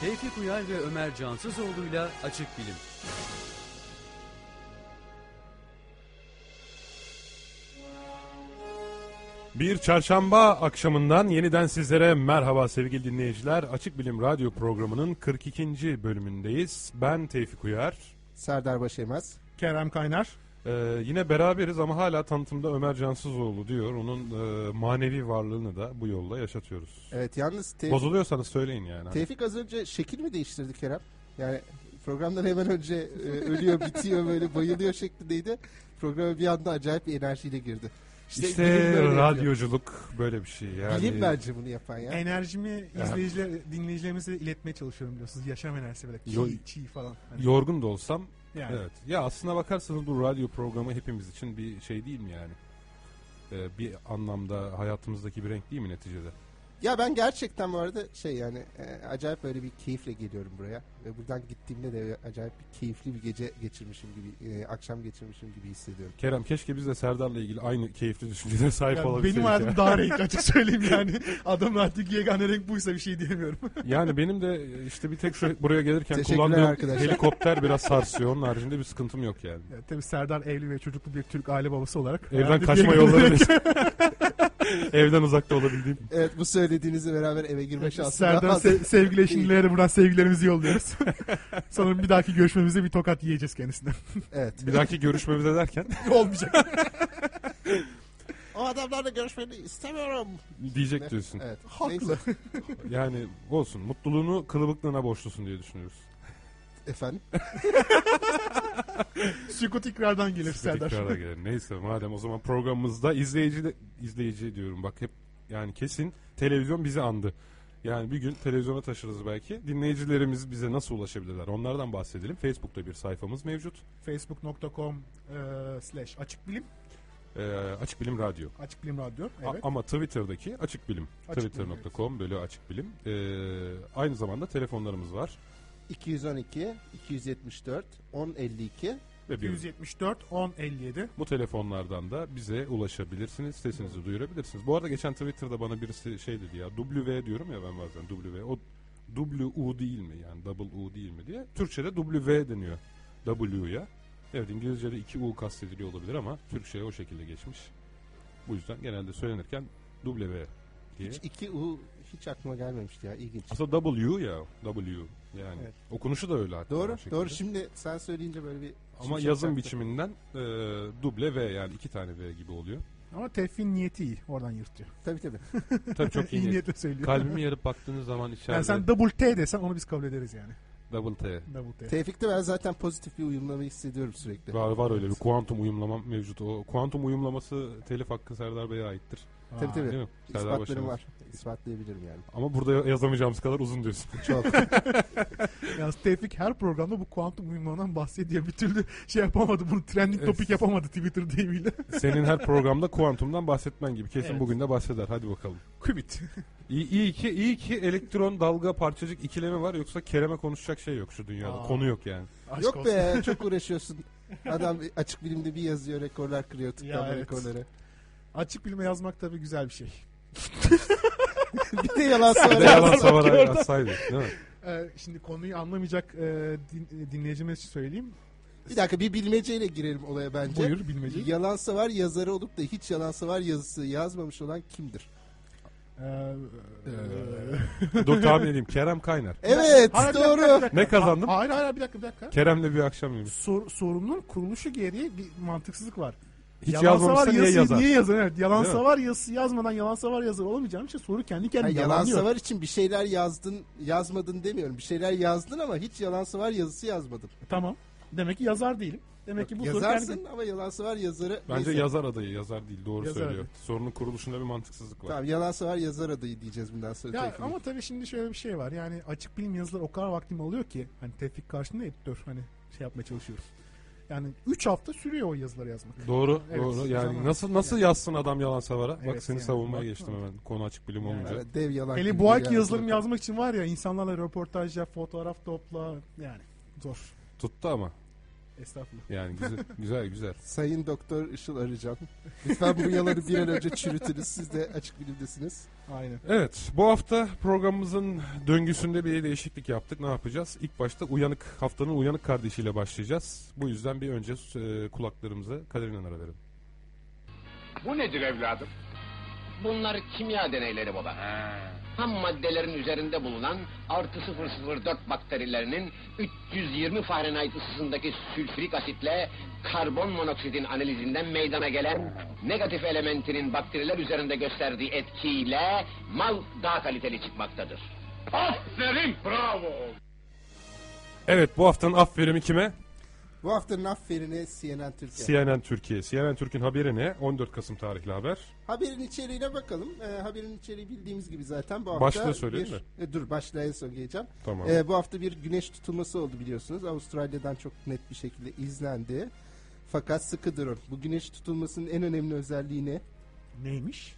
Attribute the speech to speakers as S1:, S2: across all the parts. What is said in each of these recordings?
S1: Tevfik Uyar ve Ömer Cansızoğlu'yla Açık Bilim.
S2: Bir çarşamba akşamından yeniden sizlere merhaba sevgili dinleyiciler. Açık Bilim Radyo programının 42. bölümündeyiz. Ben Tevfik Uyar.
S3: Serdar Başemez.
S4: Kerem Kaynar.
S2: Ee, yine beraberiz ama hala tanıtımda Ömer Cansızoğlu diyor. Onun e, manevi varlığını da bu yolla yaşatıyoruz.
S3: Evet yalnız Tevfik,
S2: Bozuluyorsanız söyleyin yani.
S3: Tevfik az önce şekil mi değiştirdi Kerem? Yani programdan hemen önce e, ölüyor bitiyor böyle bayılıyor şeklindeydi. Programa bir anda acayip bir enerjiyle girdi.
S2: işte
S3: bilim böyle yapıyor.
S2: radyoculuk böyle bir şey yani.
S3: Bilim bence bunu yapan ya.
S4: Enerjimi izleyiciler, dinleyicilerimize iletmeye çalışıyorum biliyorsunuz. Yaşam enerjisi böyle çiğ,
S2: Yo-
S4: çiğ falan. Hani
S2: Yorgun da olsam
S4: yani.
S2: Evet. Ya aslına bakarsanız bu radyo programı hepimiz için bir şey değil mi yani? Ee, bir anlamda hayatımızdaki bir renk değil mi neticede?
S3: Ya ben gerçekten bu arada şey yani e, acayip böyle bir keyifle geliyorum buraya. Ve buradan gittiğimde de acayip bir keyifli bir gece geçirmişim gibi, e, akşam geçirmişim gibi hissediyorum.
S2: Kerem keşke biz de Serdar'la ilgili aynı keyifli düşüncelere sahip
S4: Yani
S2: olabilseydik.
S4: benim hayatım
S2: ya.
S4: daha renkli açık söyleyeyim yani. Adamın artık yegane renk buysa bir şey diyemiyorum.
S2: yani benim de e, işte bir tek şu buraya gelirken
S3: Teşekkürler
S2: kullandığım
S3: arkadaşlar.
S2: helikopter biraz sarsıyor. Onun haricinde bir sıkıntım yok yani.
S4: Yani tabii Serdar evli ve çocuklu bir Türk aile babası olarak.
S2: Evden
S4: herhalde
S2: kaçma
S4: bir-
S2: yolları Evden uzakta olabildiğim.
S3: Evet bu söylediğinizi beraber eve girme şansı
S4: Serdar
S3: daha-
S4: se- sevgili eşinlere buradan sevgilerimizi yolluyoruz. Sanırım bir dahaki görüşmemizde bir tokat yiyeceğiz kendisinden.
S3: Evet.
S2: Bir dahaki görüşmemize derken
S4: Olmayacak.
S3: O adamlarla görüşmeni istemiyorum.
S2: diyecek diyorsun.
S3: Evet.
S4: Haklı.
S3: Neyse.
S2: Yani olsun mutluluğunu kılıbıklığına borçlusun diye düşünüyoruz.
S3: Efendim?
S4: Sükut ikrardan gelir Serdar.
S2: Tekrara gelelim. Neyse madem o zaman programımızda izleyici de, izleyici diyorum bak hep yani kesin televizyon bizi andı. Yani bir gün televizyona taşırız belki. Dinleyicilerimiz bize nasıl ulaşabilirler? Onlardan bahsedelim. Facebook'ta bir sayfamız mevcut.
S4: Facebook.com e, slash açık bilim.
S2: Ee, Açık Bilim Radyo.
S4: Açık bilim radyo.
S2: A-
S4: Evet.
S2: ama Twitter'daki Açık Bilim.
S4: Açık Bilim,
S2: Twitter.com bölü Açık Bilim. Ee, aynı zamanda telefonlarımız var.
S3: 212 274 1052
S2: Ve bir
S4: 174 10 57
S2: Bu telefonlardan da bize ulaşabilirsiniz. Sesinizi duyurabilirsiniz. Bu arada geçen Twitter'da bana birisi şey dedi ya W diyorum ya ben bazen W. O W U değil mi yani double U değil mi diye. Türkçe'de W deniyor W'ya. Evet İngilizce'de 2 U kastediliyor olabilir ama Türkçe'ye o şekilde geçmiş. Bu yüzden genelde söylenirken W diye.
S3: Hiç 2 U hiç aklıma gelmemişti ya ilginç.
S2: Aslında W ya W yani.
S4: Evet.
S2: Okunuşu da öyle hatta.
S3: Doğru
S2: o şekilde.
S3: doğru şimdi sen söyleyince böyle bir
S2: Ama
S3: şey
S2: yazım
S3: çaktı.
S2: biçiminden e, W yani iki tane V gibi oluyor.
S4: Ama Tevfik'in niyeti iyi. Oradan yırtıyor.
S3: Tabii tabii.
S2: Tabii çok iyi.
S4: iyi
S2: niyet-
S4: niyetle söylüyor.
S2: Kalbimi yarıp baktığınız zaman içeride
S4: yani sen double T desen onu biz kabul ederiz yani.
S2: double T.
S4: Double T.
S3: Tevfik'te ben zaten pozitif bir uyumlama hissediyorum sürekli.
S2: Var, var öyle bir kuantum uyumlama mevcut. O kuantum uyumlaması telif hakkı Serdar Bey'e aittir.
S4: Aa,
S3: Tabii tabii.
S2: Değil mi? Serdar
S3: İspatlarım
S2: Başarılı.
S3: var. İspatlayabilirim yani.
S2: Ama burada yazamayacağımız kadar uzun diyorsun.
S3: Çok.
S4: Yalnız Tevfik her programda bu kuantum uyumlarından bahsediyor. Bir türlü şey yapamadı bunu. Trending
S2: Evet.
S4: topik yapamadı Twitter deyimiyle.
S2: Senin her programda kuantumdan bahsetmen gibi. Kesin
S4: Evet.
S2: bugün de bahseder. Hadi bakalım.
S4: Qubit.
S2: İyi, iyi ki iyi ki elektron dalga parçacık ikilemi var yoksa Kerem'e konuşacak şey yok şu dünyada.
S4: Aa.
S2: Konu yok yani.
S4: Aşk
S3: Yok
S4: olsun.
S3: be çok uğraşıyorsun. Adam açık bilimde bir yazıyor rekorlar kırıyor tıklama
S4: Ya evet.
S3: rekorları.
S4: Açık bilime yazmak tabii güzel bir şey.
S3: bir de yalan
S2: Bir de
S3: söyle.
S2: yalan savara atsaydı. Değil mi?
S4: Ee, şimdi konuyu anlamayacak e, din- e, dinleyicimiz için söyleyeyim.
S3: bir dakika bir bilmeceyle girelim olaya bence.
S4: Buyur bilmece.
S3: Yalansa var yazarı olup da hiç yalansa var yazısı yazmamış olan kimdir?
S4: Ee,
S2: Dur tahmin edeyim. Kerem Kaynar.
S3: Evet
S4: Hayır, bir dakika, bir
S3: doğru.
S4: dakika.
S2: Ne kazandım?
S4: Hayır hayır bir dakika bir dakika.
S2: Kerem'le bir akşam yemiş.
S4: Sor, sorunun kuruluşu gereği bir mantıksızlık var.
S2: Hiç
S4: Yalansa
S2: yazmamışsa
S4: var
S2: niye
S4: yazıyı
S2: yazar?
S4: Niye yazar? Evet,
S2: Değil
S4: yalansa
S2: mi?
S4: var yazısı yazmadan yalansa var yazar olamayacağım için soru kendi kendine
S3: Yani
S4: yalanlıyor.
S3: yalansa var için bir şeyler yazdın yazmadın demiyorum. Bir şeyler yazdın ama hiç yalansa var yazısı yazmadın.
S4: Tamam. Demek ki yazar değilim. Demek ki bu soru
S3: Yazarsın
S4: kendi...
S3: ama yalansa var yazarı.
S2: Bence
S3: neyse.
S2: yazar adayı yazar değil doğru
S4: Yazar
S2: söylüyor. Sorunun kuruluşunda bir mantıksızlık var.
S3: Tamam yalansa var yazar adayı diyeceğiz bundan sonra.
S4: Ya
S3: Tevfik'in.
S4: ama tabii şimdi şöyle bir şey var. Yani açık bilim yazıları o kadar vaktim alıyor ki hani tevfik karşında editör hani şey yapmaya çalışıyoruz. Yani 3 hafta sürüyor o yazıları yazmak.
S2: Doğru,
S4: Evet,
S2: doğru. Yani
S4: zaman-
S2: nasıl nasıl yazsın adam yalan savara? Bak
S4: Evet,
S2: seni
S4: yani.
S2: savunmaya
S4: Bak-
S2: geçtim hemen. Konu açık bilim
S4: Yani
S2: olunca.
S3: Evet, Dev yalan.
S4: Hele
S3: gibi
S4: bu ayki
S3: yani.
S4: yazılım yazmak için var ya insanlarla röportaj yap, fotoğraf topla yani zor.
S2: Tuttu ama.
S4: Estağfurullah.
S2: Yani güzel güzel güzel.
S3: Sayın Doktor Işıl Arıcan. Lütfen bu yaları bir an önce çürütünüz. Siz de açık bilimdesiniz.
S4: Aynen.
S2: Evet bu hafta programımızın döngüsünde bir değişiklik yaptık. Ne yapacağız? İlk başta uyanık haftanın uyanık kardeşiyle başlayacağız. Bu yüzden bir önce e, kulaklarımızı Kadir İnanır'a verelim.
S5: Bu nedir evladım?
S6: Bunlar kimya deneyleri baba. Ham maddelerin üzerinde bulunan artı 004 bakterilerinin 320 Fahrenheit ısısındaki sülfürik asitle karbon monoksidin analizinden meydana gelen negatif elementinin bakteriler üzerinde gösterdiği etkiyle mal daha kaliteli çıkmaktadır.
S5: Aferin bravo.
S2: Evet bu haftanın afferimi kime?
S3: Bu haftanın afferine CNN Türkiye.
S2: CNN Türkiye. CNN Türk'ün haberi ne? 14 Kasım tarihli haber.
S3: Haberin içeriğine bakalım. Ee, haberin içeriği bildiğimiz gibi zaten bu hafta...
S2: Başlığı söyleyeyim
S3: bir- E, dur başlığa en son geleceğim.
S2: Tamam.
S3: Ee, bu hafta bir güneş tutulması oldu biliyorsunuz. Avustralya'dan çok net bir şekilde izlendi. Fakat sıkı durun. Bu güneş tutulmasının en önemli özelliği ne?
S4: Neymiş?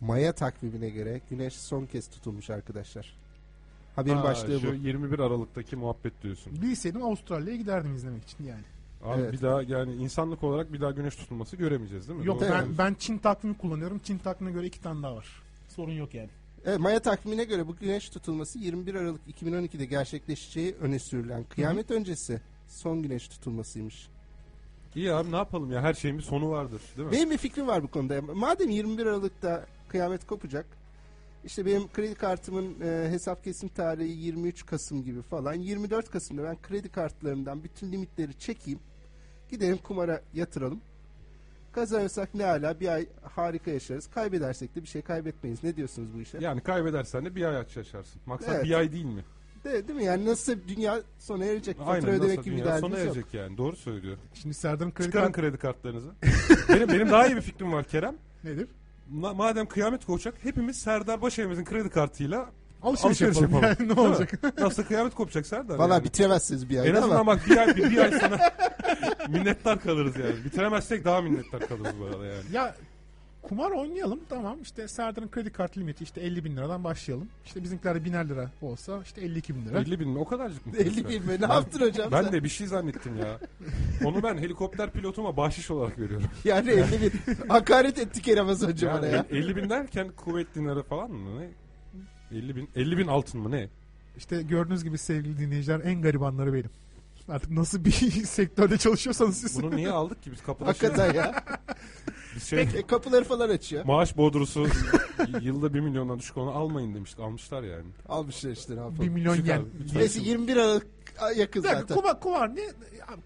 S3: Maya takvimine göre güneş son kez tutulmuş arkadaşlar. Haberin
S2: Ha,
S3: başlığı
S2: şu
S3: bu.
S2: 21 Aralık'taki muhabbet diyorsun.
S4: Bilseydim Avustralya'ya giderdim izlemek için yani.
S2: Abi
S3: Evet.
S2: bir daha yani insanlık olarak bir daha güneş tutulması göremeyeceğiz değil mi?
S4: Yok
S2: Doğru
S4: ben,
S2: diyorsun.
S4: ben Çin takvimi kullanıyorum. Çin takvimine göre iki tane daha var. Sorun yok yani.
S3: Evet, Maya takvimine göre bu güneş tutulması 21 Aralık 2012'de gerçekleşeceği öne sürülen kıyamet öncesi son güneş tutulmasıymış.
S2: İyi abi ne yapalım ya her şeyin bir sonu vardır değil mi?
S3: Benim bir fikrim var bu konuda. Madem 21 Aralık'ta kıyamet kopacak. işte benim kredi kartımın e, hesap kesim tarihi 23 Kasım gibi falan. 24 Kasım'da ben kredi kartlarımdan bütün limitleri çekeyim. Gidelim kumara yatıralım. Kazanırsak ne ala bir ay harika yaşarız. Kaybedersek de bir şey kaybetmeyiz. Ne diyorsunuz bu işe?
S2: Yani kaybedersen de bir ay aç yaşarsın. Maksat
S3: Evet.
S2: bir ay değil mi?
S3: De, değil mi? Yani nasıl dünya sona erecek? Fatura
S2: Aynen
S3: ödemek
S2: nasıl
S3: gibi bir
S2: dünya sona
S3: derdimiz yok.
S2: erecek yani doğru söylüyor.
S4: Şimdi Serdar'ın kredi
S2: Çıkarın
S4: kartı
S2: kredi kartlarınızı. benim, benim daha iyi bir fikrim var Kerem.
S4: nedir?
S2: Ma- madem kıyamet kopacak hepimiz Serdar Başay'ımızın kredi kartıyla
S4: Alışveriş,
S2: alışveriş
S4: yapalım.
S2: yapalım.
S4: Yani ne
S2: Değil mi?
S4: olacak?
S2: Nasıl kıyamet kopacak Serdar?
S3: Valla
S2: yani?
S3: bitiremezsiniz bir
S2: En
S3: ayda
S2: azından
S3: ama
S2: bak bir ay, bir ay sana minnettar kalırız yani. Bitiremezsek daha minnettar kalırız bu arada yani.
S4: Ya kumar oynayalım tamam işte Serdar'ın kredi kartı limiti işte 50 bin liradan başlayalım. İşte bizimkiler de biner lira olsa işte 52 bin lira.
S2: 50 bin o kadarcık mı?
S3: 50 bin mi? Ne yaptın hocam
S2: Ben
S3: sen?
S2: de bir şey zannettim ya. Onu ben helikopter pilotuma bahşiş olarak veriyorum.
S3: Yani 50 bin. Hakaret ettik Eramaz hocam
S2: Yani
S3: bana ya.
S2: 50 bin derken kuvvet dinarı falan mı ne? 50 bin, 50 bin altın mı ne?
S4: İşte gördüğünüz gibi sevgili dinleyiciler en garibanları benim. Artık nasıl bir sektörde çalışıyorsanız siz.
S2: Bunu niye aldık ki biz kapıda şey,
S3: Hakikaten ya.
S2: biz şey
S3: E, kapıları falan açıyor.
S2: maaş bodrusu yılda 1 milyondan düşük onu almayın demiştik. Almışlar yani.
S3: Almışlar işte ne
S4: 1
S3: yapalım.
S4: milyon
S2: Çık
S4: yen.
S2: abi, lütfen.
S3: Neyse 21 Aralık yakın
S4: Bir dakika,
S3: zaten.
S4: kumar, kumar ne? Ya,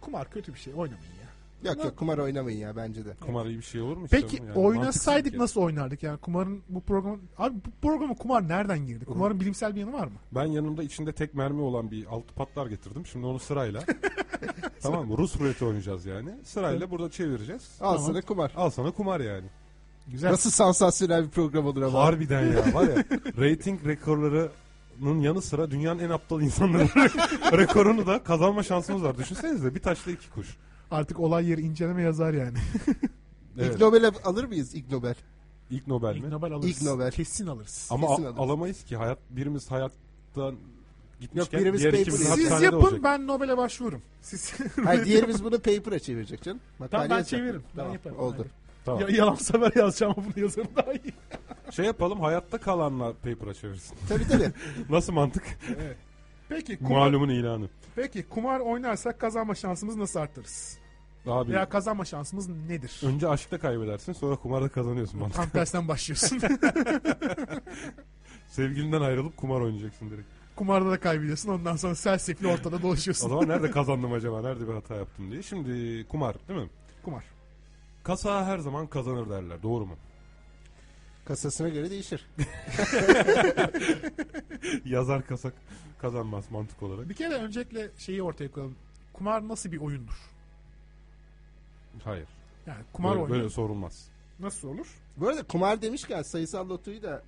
S4: kumar kötü bir şey oynamayın ya.
S3: Yok yok kumar oynamayın ya bence de.
S2: Kumar iyi bir şey olur mu? hiç
S4: Peki
S2: canım? Yani
S4: oynasaydık
S2: mantıksız
S4: nasıl oynardık yani kumarın bu program abi bu programa kumar nereden girdi? Kumarın bilimsel bir yanı var mı?
S2: ki. Ben yanımda içinde tek mermi olan bir altı patlar getirdim. Şimdi onu sırayla. tamam mı? Rus ruleti oynayacağız yani. Sırayla burada çevireceğiz.
S3: Al sana kumar.
S2: Al sana kumar yani.
S4: Güzel.
S3: Nasıl sansasyonel bir program olur ama.
S2: Harbiden ya var ya rating rekorlarının yanı sıra dünyanın en aptal insanları rekorunu da kazanma şansımız var. Düşünsenize bir taşla iki kuş.
S4: Artık olay yeri inceleme yazar yani.
S2: Evet.
S3: İg Nobel'e alır mıyız İg Nobel?
S2: İlk Nobel mi?
S4: İlk Nobel alırız.
S3: İlk Nobel.
S4: Kesin alırız.
S2: Ama
S3: Kesin
S2: a-
S3: alırız.
S2: alamayız ki hayat birimiz hayattan gitmişken
S3: Yok, birimiz
S2: diğer
S3: paper-
S2: ikimiz
S3: Siz
S2: hapishanede
S4: Siz yapın
S2: olacak.
S4: ben Nobel'e başvururum. Siz
S3: Hayır diğerimiz bunu paper'a çevirecek canım. Makale
S4: ben
S3: yazacak.
S4: çeviririm. Ben
S3: Tamam,
S4: yaparım.
S3: Oldu.
S4: Hadi.
S2: Tamam.
S4: ya, yalan sever yazacağım ama bunu yazarım daha iyi.
S2: Şey yapalım hayatta kalanla paper'a çevirsin.
S3: Tabii tabii.
S2: Nasıl mantık?
S4: Peki kumar,
S2: Malumun ilanı.
S4: peki kumar oynarsak kazanma şansımızı nasıl arttırırız?
S2: Abi
S4: Veya kazanma şansımız nedir?
S2: önce aşkta kaybedersin sonra kumarda kazanıyorsun mantık.
S4: Tam tersten başlıyorsun.
S2: Sevgilinden ayrılıp kumar oynayacaksın direkt.
S4: Kumarda da kaybediyorsun ondan sonra sersekli ortada
S2: O
S4: dolaşıyorsun.
S2: zaman nerede kazandım acaba? Nerede bir hata yaptım diye. Şimdi kumar değil mi?
S4: Kumar.
S2: Kasa her zaman kazanır derler. Doğru mu?
S3: Kasasına göre değişir.
S2: Yazar kasa kazanmaz mantık olarak.
S4: Bir kere öncelikle şeyi ortaya koyalım. Kumar nasıl bir oyundur?
S2: Hayır.
S4: Yani kumar
S2: böyle,
S4: oyunu
S2: böyle sorulmaz.
S4: nasıl olur?
S3: Bu arada kumar demişken sayısal lotoyu da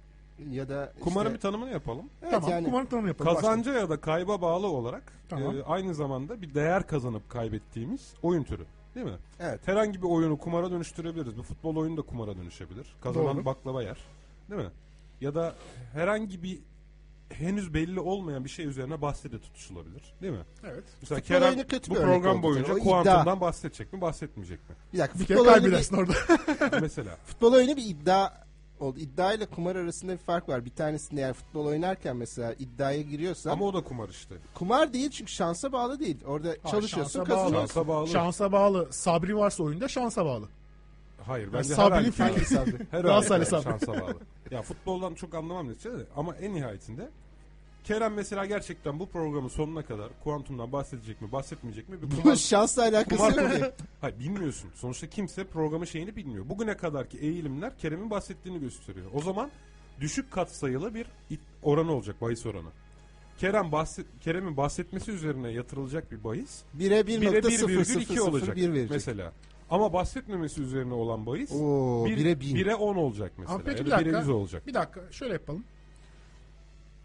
S3: ya da işte,
S2: Kumarın bir tanımını yapalım.
S3: Evet,
S4: tamam
S3: yani-
S4: kumarın tanımı yapalım. Başlayalım.
S2: Kazanca ya da kayba bağlı olarak
S4: Tamam.
S2: e, aynı zamanda bir değer kazanıp kaybettiğimiz oyun türü. Değil mi?
S3: Evet.
S2: Herhangi bir oyunu kumara dönüştürebiliriz. Bu futbol oyunu da kumara dönüşebilir. Kazanan
S4: Doğru.
S2: baklava yer. Değil mi? Ya da herhangi bir henüz belli olmayan bir şey üzerine bahsi de tutuşulabilir. Değil mi?
S4: Evet.
S2: Mesela
S3: Futbol
S2: Kerem
S3: oyunu kötü
S2: bu
S3: bir örnek
S2: program
S3: oldu.
S2: boyunca
S3: O iddia.
S2: kuantumdan bahsedecek mi bahsetmeyecek mi?
S3: Bir dakika
S4: Bir kere
S3: futbol oyunu bir,
S4: kaybedersin orada.
S2: Mesela.
S3: futbol oyunu bir iddia oldu. İddia ile kumar arasında bir fark var. Bir tanesinde yani futbol oynarken mesela iddiaya giriyorsan
S2: Ama o da kumar işte.
S3: kumar değil çünkü şansa bağlı değil. Orada çalışıyorsun
S4: şansa
S3: kazanıyorsun.
S2: Şansa bağlı.
S4: şansa bağlı. Sabri varsa oyunda şansa bağlı.
S2: Hayır bence her
S4: Sabri'nin
S2: halükarda-
S4: fikri.
S3: Sabri.
S2: Her
S4: Daha
S2: halükarda
S4: salih Sabri.
S2: şansa bağlı. Ya futboldan çok anlamam neticede de ama en nihayetinde Kerem mesela gerçekten bu programın sonuna kadar kuantumdan bahsedecek mi bahsetmeyecek mi bir
S3: Bu
S2: kumar
S3: şansla alakası yok ki.
S2: Kumar Hayır bilmiyorsun. Sonuçta kimse programın şeyini bilmiyor. Bugüne kadarki eğilimler Kerem'in bahsettiğini gösteriyor. O zaman düşük katsayılı bir it- oran olacak bahis oranı. Kerem bahset Kerem'in bahsetmesi üzerine yatırılacak bir bahis.
S3: 1'e
S2: Bire 1,2 olacak
S3: 1,00001 verecek.
S2: mesela. Ama bahsetmemesi üzerine olan bahis
S3: Oo,
S2: bir-
S3: bire bin.
S2: 1'e 10 olacak mesela.
S4: Ama peki bir
S2: ya da 1'e
S4: dakika.
S2: 100 olacak.
S4: Bir dakika şöyle yapalım.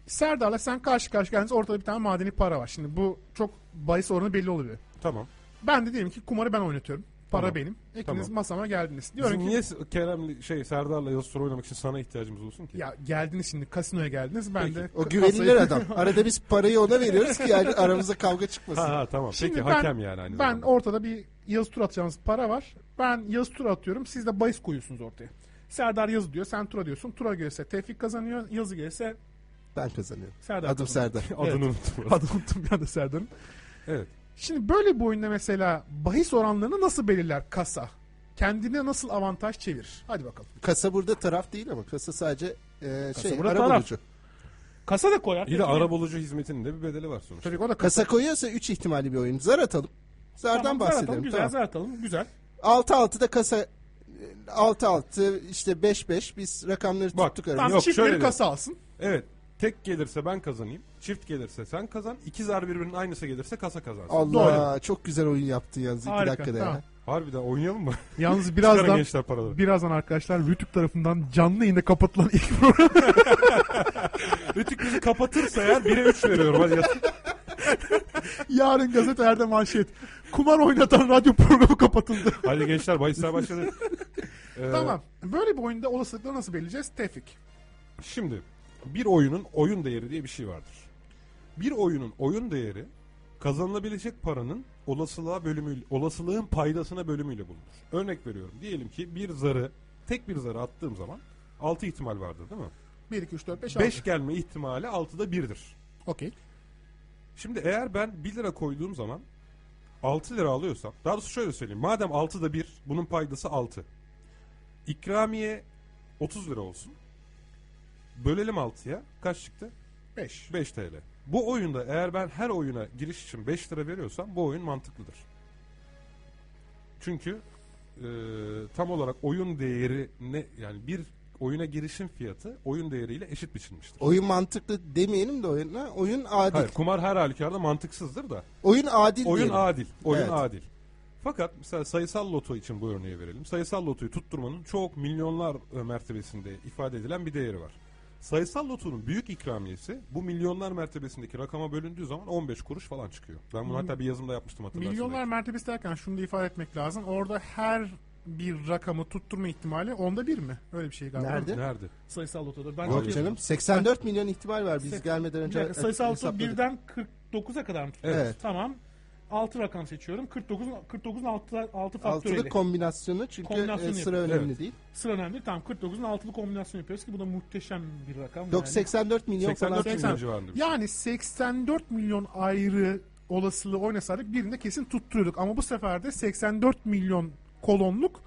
S4: Serdar'la sen karşı karşı geldiniz ortada bir tane madeni para var. Şimdi bu çok bahis oranı belli oluyor.
S2: Tamam.
S4: Ben de diyelim ki kumarı ben oynatıyorum. Para
S2: Tamam.
S4: benim. İkiniz
S2: Tamam.
S4: masama geldiniz. Diyorum
S2: Bizim
S4: ki
S2: niye Kerem'le şey Serdar'la Yalçın oynamak için sana ihtiyacımız olsun ki?
S4: ya geldiniz şimdi kasinoya geldiniz. Ben de
S3: O
S4: ka-
S3: güvenilir
S4: kasayı-
S3: adam. Arada biz parayı ona veriyoruz ki yani aramızda kavga çıkmasın.
S2: Ha, ha tamam.
S4: Şimdi
S2: peki
S4: ben,
S2: hakem yani aynı
S4: Ben
S2: zamanda.
S4: ortada bir yazı tur atacağınız para var. Ben yazı tur atıyorum. Siz de bahis koyuyorsunuz ortaya. Serdar yazı diyor. Sen tura diyorsun. Tura gelirse Tevfik kazanıyor. Yazı gelirse
S3: Ben kazanıyorum.
S4: Serdar
S3: Adım
S4: kazanıyor.
S3: Serdar.
S2: adını unuttum.
S4: Adını unuttum bir anda Serdar'ın.
S2: evet.
S4: Şimdi böyle bir oyunda mesela bahis oranlarını nasıl belirler kasa? Kendine nasıl avantaj çevirir? Hadi bakalım.
S3: Kasa burada taraf değil ama kasa sadece e, şey
S4: burada
S3: ara
S4: taraf.
S3: bulucu.
S4: Kasa da koyar.
S2: İyi de arabulucu hizmetinin de bir bedeli var sonuçta.
S4: Tabii ki o da kasa.
S3: Kasa koyuyorsa 3 ihtimali bir oyun. Zar atalım. Zardan
S4: Tamam, zar atalım,
S3: bahsedelim.
S4: Güzel
S3: tamam.
S4: zar atalım. Güzel.
S3: 6-6 da kasa 6-6 işte 5-5 biz rakamları
S2: Bak,
S3: tuttuk aramızda.
S4: Tamam
S2: Yok, şöyle
S4: çiftleri
S2: de-
S4: kasa alsın.
S2: Evet. Tek gelirse ben kazanayım. Çift gelirse sen kazan. İki zar birbirinin aynısı gelirse kasa kazansın.
S3: Allah çok güzel oyun yaptın yalnız 2
S4: Harika,
S3: dakikada
S4: tamam.
S3: ya.
S2: Harbiden oynayalım mı?
S4: Yalnız
S2: Çıkarın
S4: birazdan
S2: gençler paraları.
S4: birazdan arkadaşlar YouTube tarafından canlı yayında kapatılan ilk program.
S2: Rütük bizi kapatırsa eğer 1'e 3 veriyorum. Hadi yat.
S4: Yarın gazetelerde manşet. Kumar oynatan radyo programı kapatıldı.
S2: Hadi gençler bahisler başladı. Ee,
S4: tamam. Böyle bir oyunda olasılıkları nasıl belirleyeceğiz? Tevfik.
S2: Şimdi bir oyunun oyun değeri diye bir şey vardır. Bir oyunun oyun değeri kazanılabilecek paranın olasılığa bölümü, olasılığın paydasına bölümüyle bulunur. Örnek veriyorum. Diyelim ki bir zarı, tek bir zarı attığım zaman 6 ihtimal vardır değil mi?
S4: 1, 2, 3, 4, 5,
S2: 5
S4: 6.
S2: gelme ihtimali 6'da 1'dir.
S4: Okey.
S2: Şimdi eğer ben 1 lira koyduğum zaman 6 lira alıyorsam, daha doğrusu şöyle söyleyeyim. Madem 6'da 1, bunun paydası 6. İkramiye 30 lira olsun. Bölelim 6'ya. Kaç çıktı?
S4: 5.
S2: 5 TL. Bu oyunda eğer ben her oyuna giriş için 5 lira veriyorsam bu oyun mantıklıdır. Çünkü e, tam olarak oyun değeri ne yani bir oyuna girişin fiyatı oyun değeriyle eşit biçilmiştir.
S3: Oyun mantıklı demeyelim de oyuna. Oyun adil.
S2: Hayır, kumar her halükarda mantıksızdır da.
S3: Oyun adil
S2: Oyun
S3: diyelim.
S2: adil. Oyun
S3: Evet.
S2: adil. Fakat mesela sayısal loto için bu örneği verelim. Sayısal lotoyu tutturmanın çok milyonlar e, mertebesinde ifade edilen bir değeri var. Sayısal lotonun büyük ikramiyesi bu milyonlar mertebesindeki rakama bölündüğü zaman 15 kuruş falan çıkıyor. Ben bunu hatta bir yazımda yapmıştım hatırlarsın.
S4: Milyonlar
S2: belki.
S4: mertebesi derken şunu da ifade etmek lazım. Orada her bir rakamı tutturma ihtimali onda bir mi? Öyle bir şey galiba.
S3: Nerede?
S2: Nerede?
S4: Sayısal lotoda. Ben
S3: Yok canım 84 milyon ihtimal var biz
S4: Sek-
S3: gelmeden
S4: Bir
S3: önce.
S4: dakika, sayısal loto
S3: hesapladık.
S4: 1'den 49'a kadar mı tutuyoruz?
S3: Evet.
S4: Tamam. 6 rakam seçiyorum. 49 49'un 6 6
S3: Altılı
S4: faktöriyeli.
S3: kombinasyonu çünkü
S4: Kombinasyonu
S3: e, sıra
S4: yapıyor.
S3: önemli
S2: Evet.
S3: değil.
S4: Sıra önemli. Tamam 49'un 6'lı kombinasyon yapıyoruz ki bu da muhteşem bir rakam.
S3: Dok 84 milyon
S2: 84
S3: falan.
S2: milyon civarında. bir şey.
S4: Yani 84 milyon ayrı olasılığı oynasaydık birinde kesin tutturuyorduk. Ama bu sefer de 84 milyon kolonluk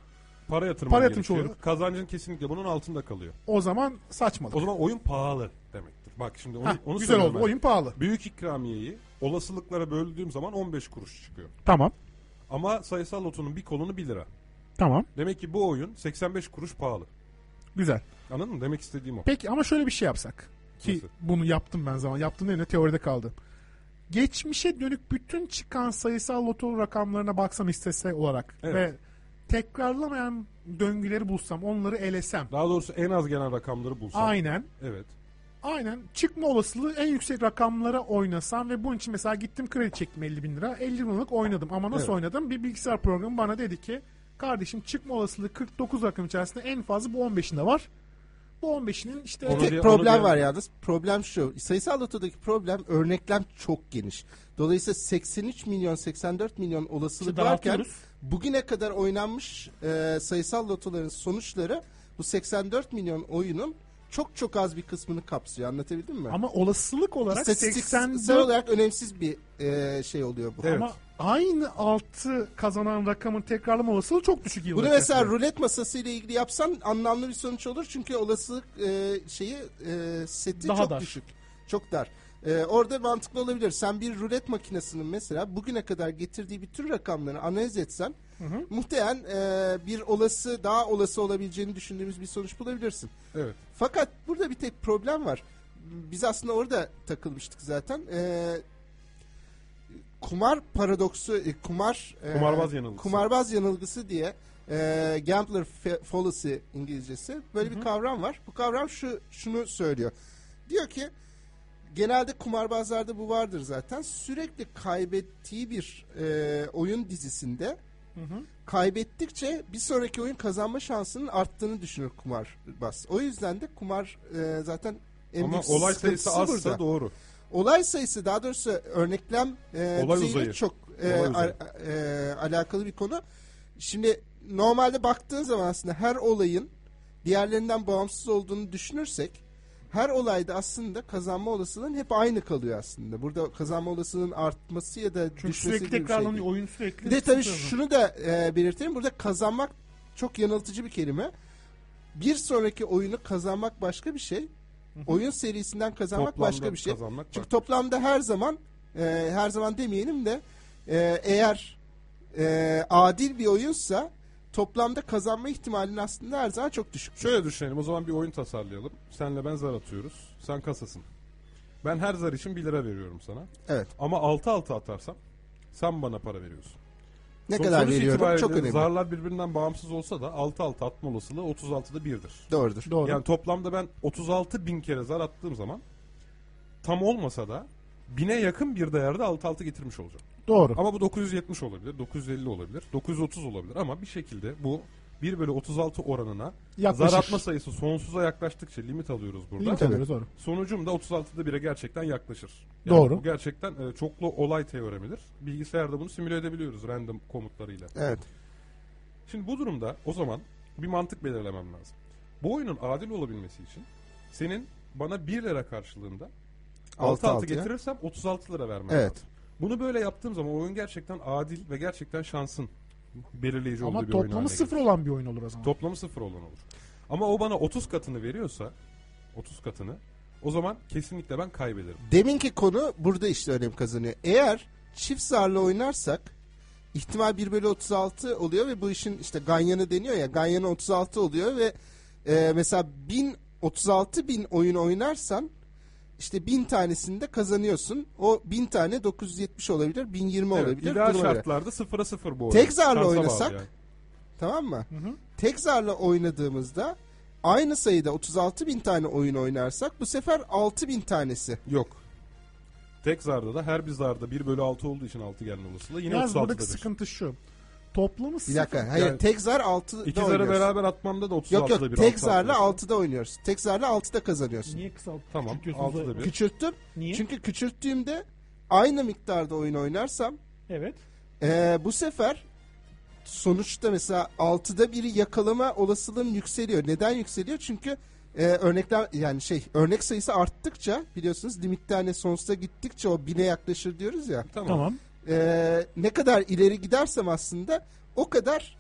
S2: para yatırımı
S4: para
S2: para
S4: yatırmış
S2: gerekiyor.
S4: olur.
S2: Kazancın kesinlikle bunun altında kalıyor.
S4: o zaman saçmalık.
S2: O zaman oyun pahalı demektir. Bak şimdi onu,
S4: Hah,
S2: onu
S4: güzel
S2: söylüyorum
S4: oldu.
S2: ben.
S4: Oyun pahalı.
S2: Büyük ikramiyeyi olasılıklara böldüğüm zaman 15 kuruş çıkıyor.
S4: Tamam.
S2: Ama sayısal lotonun bir kolonu 1 lira.
S4: Tamam.
S2: Demek ki bu oyun 85 kuruş pahalı.
S4: Güzel.
S2: Anladın mı? Demek istediğim o.
S4: Peki ama şöyle bir şey yapsak. Ki
S2: Nasıl?
S4: bunu yaptım ben zaman. Yaptım dediğimde teoride kaldı. Geçmişe dönük bütün çıkan sayısal loto rakamlarına baksam istese olarak
S2: Evet.
S4: ve tekrarlamayan döngüleri bulsam, onları elesem.
S2: Daha doğrusu en az gelen rakamları bulsam.
S4: Aynen.
S2: Evet.
S4: Aynen. Çıkma olasılığı en yüksek rakamlara oynasam ve bunun için mesela gittim kredi çektim 50 bin lira. 50 bin liralık oynadım ama nasıl
S2: Evet.
S4: oynadım? Bir bilgisayar programı bana dedi ki kardeşim çıkma olasılığı 49 rakam içerisinde en fazla bu 15'inde var. Bu 15'inin işte
S2: Onu
S3: Tek
S2: diye-
S3: problem
S2: diye-
S3: var yalnız. Problem şu. Sayısal lotodaki problem örneklem çok geniş. Dolayısıyla 83 milyon 84 milyon olasılık
S4: İşte
S3: varken
S4: dağıtıyoruz.
S3: bugüne kadar oynanmış e, sayısal lotoların sonuçları bu 84 milyon oyunun çok çok az bir kısmını kapsıyor. Anlatabildim mi?
S4: ama olasılık olarak
S3: İstatistiksel
S4: 84
S3: olarak önemsiz bir e, şey oluyor bu.
S4: ama aynı altı kazanan rakamın tekrarlama olasılığı çok düşük yıllar.
S3: Bunu
S4: içerisinde.
S3: mesela rulet masası ile ilgili yapsan anlamlı bir sonuç olur çünkü olasılık e, şeyi e, seti
S4: Daha
S3: çok
S4: dar.
S3: düşük. Çok dar. E, orada mantıklı olabilir. Sen bir rulet makinesinin mesela bugüne kadar getirdiği bütün rakamları analiz etsen muhtemelen e, bir olası daha olası olabileceğini düşündüğümüz bir sonuç bulabilirsin.
S2: Evet.
S3: Fakat burada bir tek problem var. Biz aslında orada takılmıştık zaten. Ee, kumar paradoksu, e, kumar e,
S2: Kumarbaz yanılgısı.
S3: kumarbaz yanılgısı diye e, gambler fa- fallacy İngilizcesi böyle bir kavram var. Bu kavram şu şunu söylüyor. Diyor ki genelde kumarbazlarda bu vardır zaten. Sürekli kaybettiği bir e, oyun dizisinde kaybettikçe bir sonraki oyun kazanma şansının arttığını düşünür kumarbaz. O yüzden de kumar e, zaten en
S2: Ama
S3: büyük
S2: olay sayısı
S3: sıkıntısı
S2: azsa
S3: burada.
S2: doğru.
S3: Olay sayısı daha doğrusu örneklem e,
S2: Olay
S3: düzeyiyle
S2: uzayı.
S3: çok e,
S2: Olay uzayı.
S3: al- e, alakalı bir konu. Şimdi normalde baktığın zaman aslında her olayın diğerlerinden bağımsız olduğunu düşünürsek her olayda aslında kazanma olasılığın hep aynı kalıyor aslında. Burada kazanma olasılığının artması ya da
S4: Çünkü
S3: düşmesi
S4: sürekli
S3: gibi bir şey
S4: tekrarlanıyor.
S3: değil.
S4: oyun sürekli.
S3: Bir de tabii
S4: sıfır.
S3: şunu da e, belirtelim. Burada kazanmak çok yanıltıcı bir kelime. Bir sonraki oyunu kazanmak başka bir şey. Oyun serisinden kazanmak
S2: Toplamda
S3: başka bir şey.
S2: kazanmak
S3: Çünkü
S2: başka
S3: toplamda her zaman e, her zaman demeyelim de e, eğer e, adil bir oyunsa toplamda kazanma ihtimalinin aslında her zaman çok düşük.
S2: Şöyle düşünelim o zaman bir oyun tasarlayalım. Senle ben zar atıyoruz. Sen kasasın. Ben her zar için 1 lira veriyorum sana.
S3: Evet.
S2: Ama 6-6 atarsam sen bana para veriyorsun.
S3: Ne
S2: Son-
S3: kadar
S2: sonuç
S3: veriyorum
S2: itibariyle
S3: çok önemli.
S2: Zarlar birbirinden bağımsız olsa da 6-6 atma olasılığı 36'da 1'dir.
S3: Doğrudur.
S4: Doğru.
S2: Yani toplamda ben 36 bin kere zar attığım zaman tam olmasa da bine yakın bir değerde 6-6 getirmiş olacağım.
S4: Doğru.
S2: Ama bu 970 olabilir, 950 olabilir, 930 olabilir ama bir şekilde bu 1 bölü 36 oranına
S4: Yaklaşır.
S2: zar atma sayısı sonsuza yaklaştıkça limit alıyoruz burada.
S4: Limit alıyoruz, doğru.
S2: Sonucum da 36'da 1'e gerçekten yaklaşır.
S4: Doğru.
S2: Bu gerçekten e, çoklu olay teoremidir. Bilgisayarda bunu simüle edebiliyoruz random komutlarıyla.
S3: Evet.
S2: Şimdi bu durumda o zaman bir mantık belirlemem lazım. Bu oyunun adil olabilmesi için senin bana 1 lira karşılığında 6 6
S3: altıya.
S2: getirirsem 36 lira vermem
S3: Evet.
S2: lazım. Bunu böyle yaptığım zaman oyun gerçekten adil ve gerçekten şansın belirleyici olduğu
S4: Ama
S2: bir oyun haline
S4: toplamı
S2: gelir.
S4: sıfır olan bir oyun olur o zaman.
S2: Toplamı sıfır olan olur. Ama o bana 30 katını veriyorsa 30 katını o zaman kesinlikle ben kaybederim.
S3: Deminki konu burada işte önem kazanıyor. Eğer çift zarla oynarsak ihtimal 1 bölü 36 oluyor ve bu işin işte ganyanı deniyor ya ganyanı 36 oluyor ve e, mesela 1000 36 bin oyun oynarsan işte 1000 tanesinde kazanıyorsun. O 1000 tane 970 olabilir, 1020
S2: Evet,
S3: olabilir.
S2: ideal
S3: duruma göre.
S2: şartlarda sıfıra sıfır bu oyun.
S3: Tek zarla
S2: Şansa bağlı
S3: oynasak-
S2: yani.
S3: Tamam mı? Tek zarla oynadığımızda aynı sayıda 36 bin tane oyun oynarsak bu sefer 6 bin tanesi
S2: Yok. Tek zarda da her bir zarda 1 bölü 6 olduğu için 6 gelme olasılığı yine
S4: Yalnız
S2: 36'dadır.
S4: buradaki sıkıntı şu. Toplamı
S3: Bir
S4: sıfır.
S3: dakika. Hayır
S2: Yani-
S3: tek zar 6'da
S2: İki
S3: oynuyoruz.
S2: zarı beraber atmamda da 36'da
S3: Yok
S2: bir
S3: yok
S2: altı
S3: tek zarla
S2: atıyorsun.
S3: 6'da oynuyoruz. Tek zarla 6'da kazanıyorsun.
S4: Niye kısalt?
S2: Tamam,
S4: küçültüyorsunuz?
S2: altıda bir.
S3: Küçülttüm.
S4: Niye?
S3: Çünkü küçülttüğümde aynı miktarda oyun oynarsam
S4: Evet.
S3: ee, bu sefer sonuçta mesela 6'da biri yakalama olasılığım yükseliyor. Neden yükseliyor? Çünkü e, örnekler yani şey örnek sayısı arttıkça biliyorsunuz limitten hani sonsuza gittikçe o bine yaklaşır diyoruz ya.
S2: Tamam.
S4: Tamam.
S3: Ee, ne kadar ileri gidersem aslında o kadar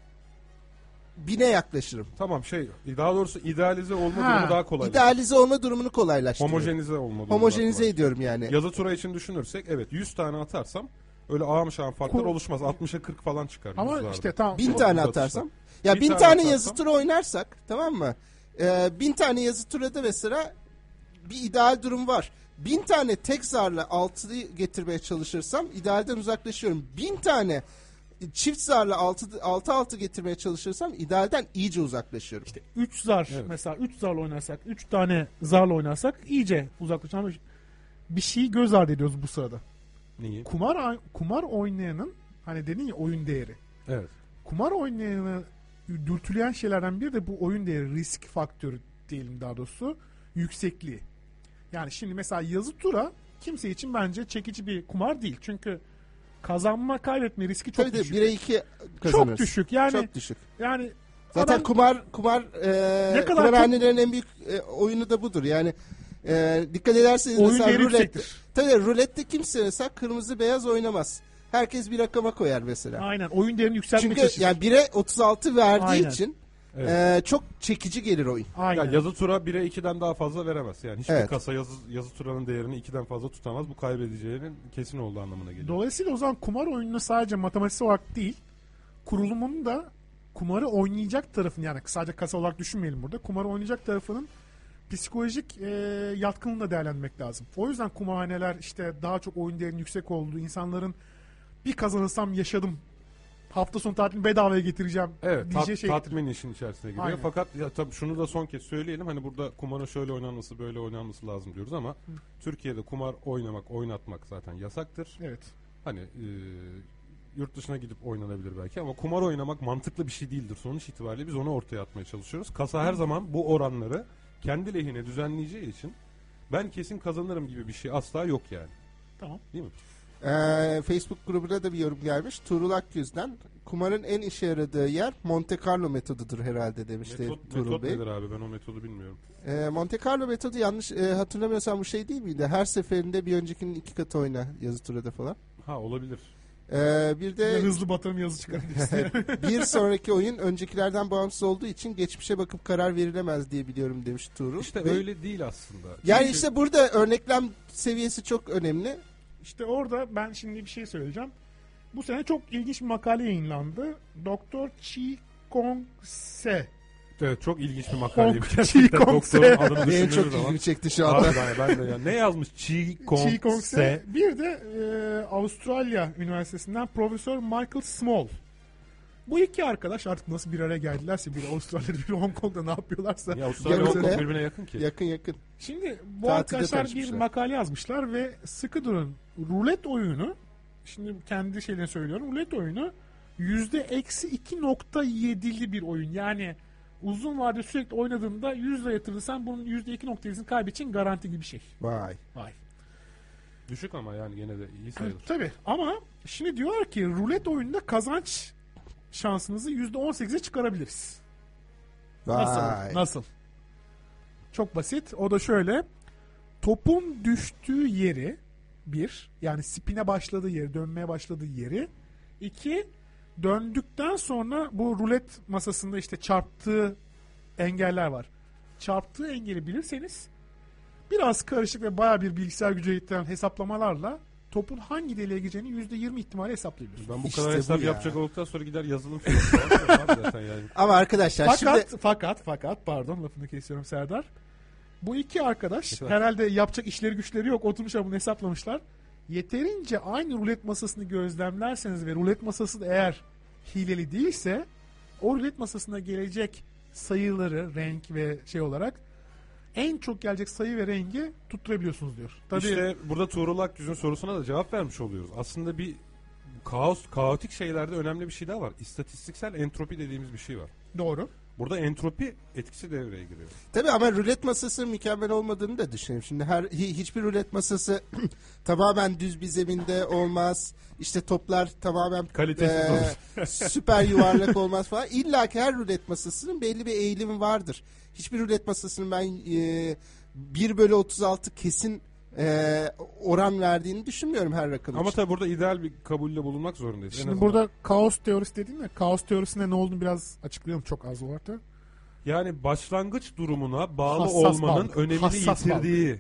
S3: bine yaklaşırım.
S2: Tamam şey daha doğrusu idealize olma
S4: Ha,
S2: durumu daha kolay.
S3: İdealize olma durumunu kolaylaştırıyor.
S2: Homojenize olma durumu daha
S3: Homojenize
S2: kolay.
S3: ediyorum yani.
S2: Yazı tura için düşünürsek evet 100 tane atarsam öyle ağam şahım farklar
S4: Kur-
S2: oluşmaz. 60'a 40 falan çıkar.
S4: Ama
S2: yüz zarda.
S4: işte tamam.
S3: Bin
S2: o-
S3: tane
S2: o da
S3: atarsam.
S2: işte.
S3: Ya
S2: Bir
S3: bin
S2: tane
S3: tane,
S2: atarsam-
S3: yazı tura oynarsak tamam mı? Ee, bin tane yazı turada mesela bir ideal durum var. Bin tane tek zarla altıyı getirmeye çalışırsam idealden uzaklaşıyorum. Bin tane çift zarla altı, altı altı getirmeye çalışırsam idealden iyice uzaklaşıyorum.
S4: 3 zar
S2: Evet.
S4: mesela 3 zarla oynarsak 3 tane zarla oynarsak iyice uzaklaşan bir- şey. bir şeyi göz ardı ediyoruz bu sırada.
S2: Niye?
S4: Kumar kumar oynayanın hani dedin ya oyun değeri.
S2: Evet.
S4: Kumar oynayanı dürtüleyen şeylerden biri de bu oyun değeri risk faktörü diyelim daha doğrusu yüksekliği. Yani şimdi mesela yazı tura kimse için bence çekici bir kumar değil. Çünkü kazanma kaybetme riski çok
S3: Tabii de
S4: düşük.
S3: 1'e 2 kazanırsın.
S4: düşük yani.
S3: Çok düşük.
S4: Yani
S3: Zaten
S4: adam-
S3: kumar kumar e,
S4: Ne kadar
S3: kumarhanelerin en büyük e, oyunu da budur. Yani e, dikkat ederseniz
S4: Oyun
S3: mesela
S4: değeri
S3: rulet.
S4: yüksektir.
S3: Tabii rulette kimse mesela kırmızı beyaz oynamaz. Herkes bir rakama koyar mesela.
S4: aynen oyun değerini yükseltmek
S3: Çünkü
S4: için.
S3: yani 1'e 36 verdiği
S4: Aynen.
S3: için
S2: Evet.
S3: e, çok çekici gelir oyun.
S4: aynen.
S2: Ya yazı tura 1'e 2'den daha fazla veremez. Yani hiçbir
S3: Evet.
S2: kasa yazı, yazı turanın değerini 2'den fazla tutamaz. Bu kaybedeceğinin kesin olduğu anlamına geliyor.
S4: Dolayısıyla o zaman kumar oyununa sadece matematiksel olarak değil, kurulumun da kumarı oynayacak tarafın yani sadece kasa olarak düşünmeyelim burada. Kumarı oynayacak tarafının psikolojik e, yatkınlığını da değerlendirmek lazım. O yüzden kumarhaneler işte daha çok oyun değerinin yüksek olduğu, insanların bir kazanırsam yaşadım, hafta sonu tatilini bedavaya getireceğim
S2: Evet
S4: diyeceği
S2: tat-
S4: şey.
S2: tatmin işin içerisine giriyor.
S4: Aynen.
S2: Fakat ya, tabii şunu da son kez söyleyelim. Hani burada kumara şöyle oynanması böyle oynanması lazım diyoruz ama Türkiye'de kumar oynamak oynatmak zaten yasaktır.
S4: Evet.
S2: Hani e, yurt dışına gidip oynanabilir belki ama kumar oynamak mantıklı bir şey değildir. Sonuç itibariyle biz onu ortaya atmaya çalışıyoruz. Kasa her zaman bu oranları kendi lehine düzenleyeceği için ben kesin kazanırım gibi bir şey asla yok yani.
S4: Tamam.
S2: Değil mi?
S3: Ee, Facebook grubuna da bir yorum gelmiş. Tuğrul Akyüz'den kumarın en işe yaradığı yer Monte Carlo metodudur herhalde demişti
S2: metot
S3: Tuğrul
S2: metot
S3: Bey.
S2: nedir abi ben o metodu bilmiyorum.
S3: Ee, Monte Carlo metodu yanlış e, hatırlamıyorsam bu şey değil miydi? Her seferinde bir öncekinin iki katı oyna yazı turada falan.
S2: Ha olabilir.
S3: Ee, bir
S4: Bir de
S3: de
S4: hızlı batırım yazı çıkarabilirsin.
S3: bir sonraki oyun öncekilerden bağımsız olduğu için geçmişe bakıp karar verilemez diye biliyorum demiş Tuğrul.
S2: İşte
S3: Ve-
S2: öyle değil aslında.
S3: Yani
S2: Çünkü-
S3: işte burada örneklem seviyesi çok önemli.
S4: İşte orada ben şimdi bir şey söyleyeceğim. Bu sene çok ilginç bir makale yayınlandı. Doktor Chi Kong Se.
S2: Evet çok ilginç bir makaleymiş.
S4: Kong-
S2: Gerçekten
S4: Chi Kong
S2: doktorun
S4: Se.
S2: adını
S3: Benim
S2: düşündüğüm
S3: çok
S2: zaman.
S3: ilgimi çekti şu anda.
S2: Harbiden ben de ya. Ne yazmış? Chi Kong,
S4: Chi Kong Se.
S2: Se.
S4: Bir de e, Avustralya Üniversitesi'nden Profesör Michael Small. Bu iki arkadaş artık nasıl bir araya geldilerse biri Avustralya'da biri Hong Kong'da ne yapıyorlarsa.
S2: Ya Avustralya
S3: Yarın
S2: Hong Kong
S3: öyle.
S2: birbirine yakın ki.
S3: Yakın yakın.
S4: Şimdi bu
S3: Tatilde
S4: arkadaşlar bir
S3: tanışmışlar.
S4: makale yazmışlar ve sıkı durun. Rulet oyunu şimdi kendi şeylerini söylüyorum. Rulet oyunu yüzde eksi 2.7'li bir oyun. Yani uzun vadede sürekli oynadığında 100 lira yatırırsan bunun yüzde 2.7'sini kaybedeceğin garanti gibi bir şey.
S3: Vay.
S4: Vay.
S2: Düşük ama yani gene de iyi sayılır.
S4: Tabii ama şimdi diyorlar ki rulet oyununda kazanç şansınızı yüzde 18'e çıkarabiliriz.
S3: Vay.
S4: Nasıl? Nasıl? Çok basit. O da şöyle. Topun düştüğü yeri bir. Yani spine başladığı yeri, dönmeye başladığı yeri. iki Döndükten sonra bu rulet masasında işte çarptığı engeller var. Çarptığı engeli bilirseniz biraz karışık ve bayağı bir bilgisayar gücü yitiren hesaplamalarla topun hangi deliğe gireceğini %20 ihtimalle hesaplayabiliyorsunuz.
S2: Ben bu
S3: İşte
S2: kadar
S3: bu
S2: hesap
S3: ya.
S2: yapacak olduktan sonra gider yazılım falan falan var zaten yani.
S3: Ama arkadaşlar
S4: Fakat
S3: şimdi
S4: fakat fakat pardon lafını kesiyorum Serdar. Bu iki arkadaş herhalde yapacak işleri güçleri yok. Oturmuşlar bunu hesaplamışlar. Yeterince aynı rulet masasını gözlemlerseniz ve rulet masası da eğer hileli değilse o rulet masasına gelecek sayıları renk ve şey olarak en çok gelecek sayı ve rengi tutturabiliyorsunuz diyor. Tabii
S2: İşte burada Tuğrul Akgüz'ün sorusuna da cevap vermiş oluyoruz. Aslında bir kaos, kaotik şeylerde önemli bir şey daha var. İstatistiksel entropi dediğimiz bir şey var.
S4: doğru.
S2: Burada entropi etkisi devreye giriyor.
S3: tabii ama rulet masası mükemmel olmadığını da düşünelim. Şimdi her hi- hiçbir rulet masası tamamen düz bir zeminde olmaz. İşte toplar tamamen
S2: Kalitesiz
S3: eee, süper yuvarlak olmaz falan. İlla ki her rulet masasının belli bir eğilimi vardır. Hiçbir rulet masasının ben eee 1 bölü 36 kesin eee, oran verdiğini düşünmüyorum her rakam
S2: Ama
S3: için.
S2: tabii burada ideal bir kabulle bulunmak zorundayız. En
S4: Şimdi
S2: azından.
S4: burada kaos teorisi dedin ya. Kaos teorisinde ne olduğunu biraz açıklayalım çok az olarak da.
S2: Yani başlangıç durumuna bağlı
S4: Hassas
S2: olmanın
S4: bağlı.
S2: önemini
S4: Hassas
S2: yitirdiği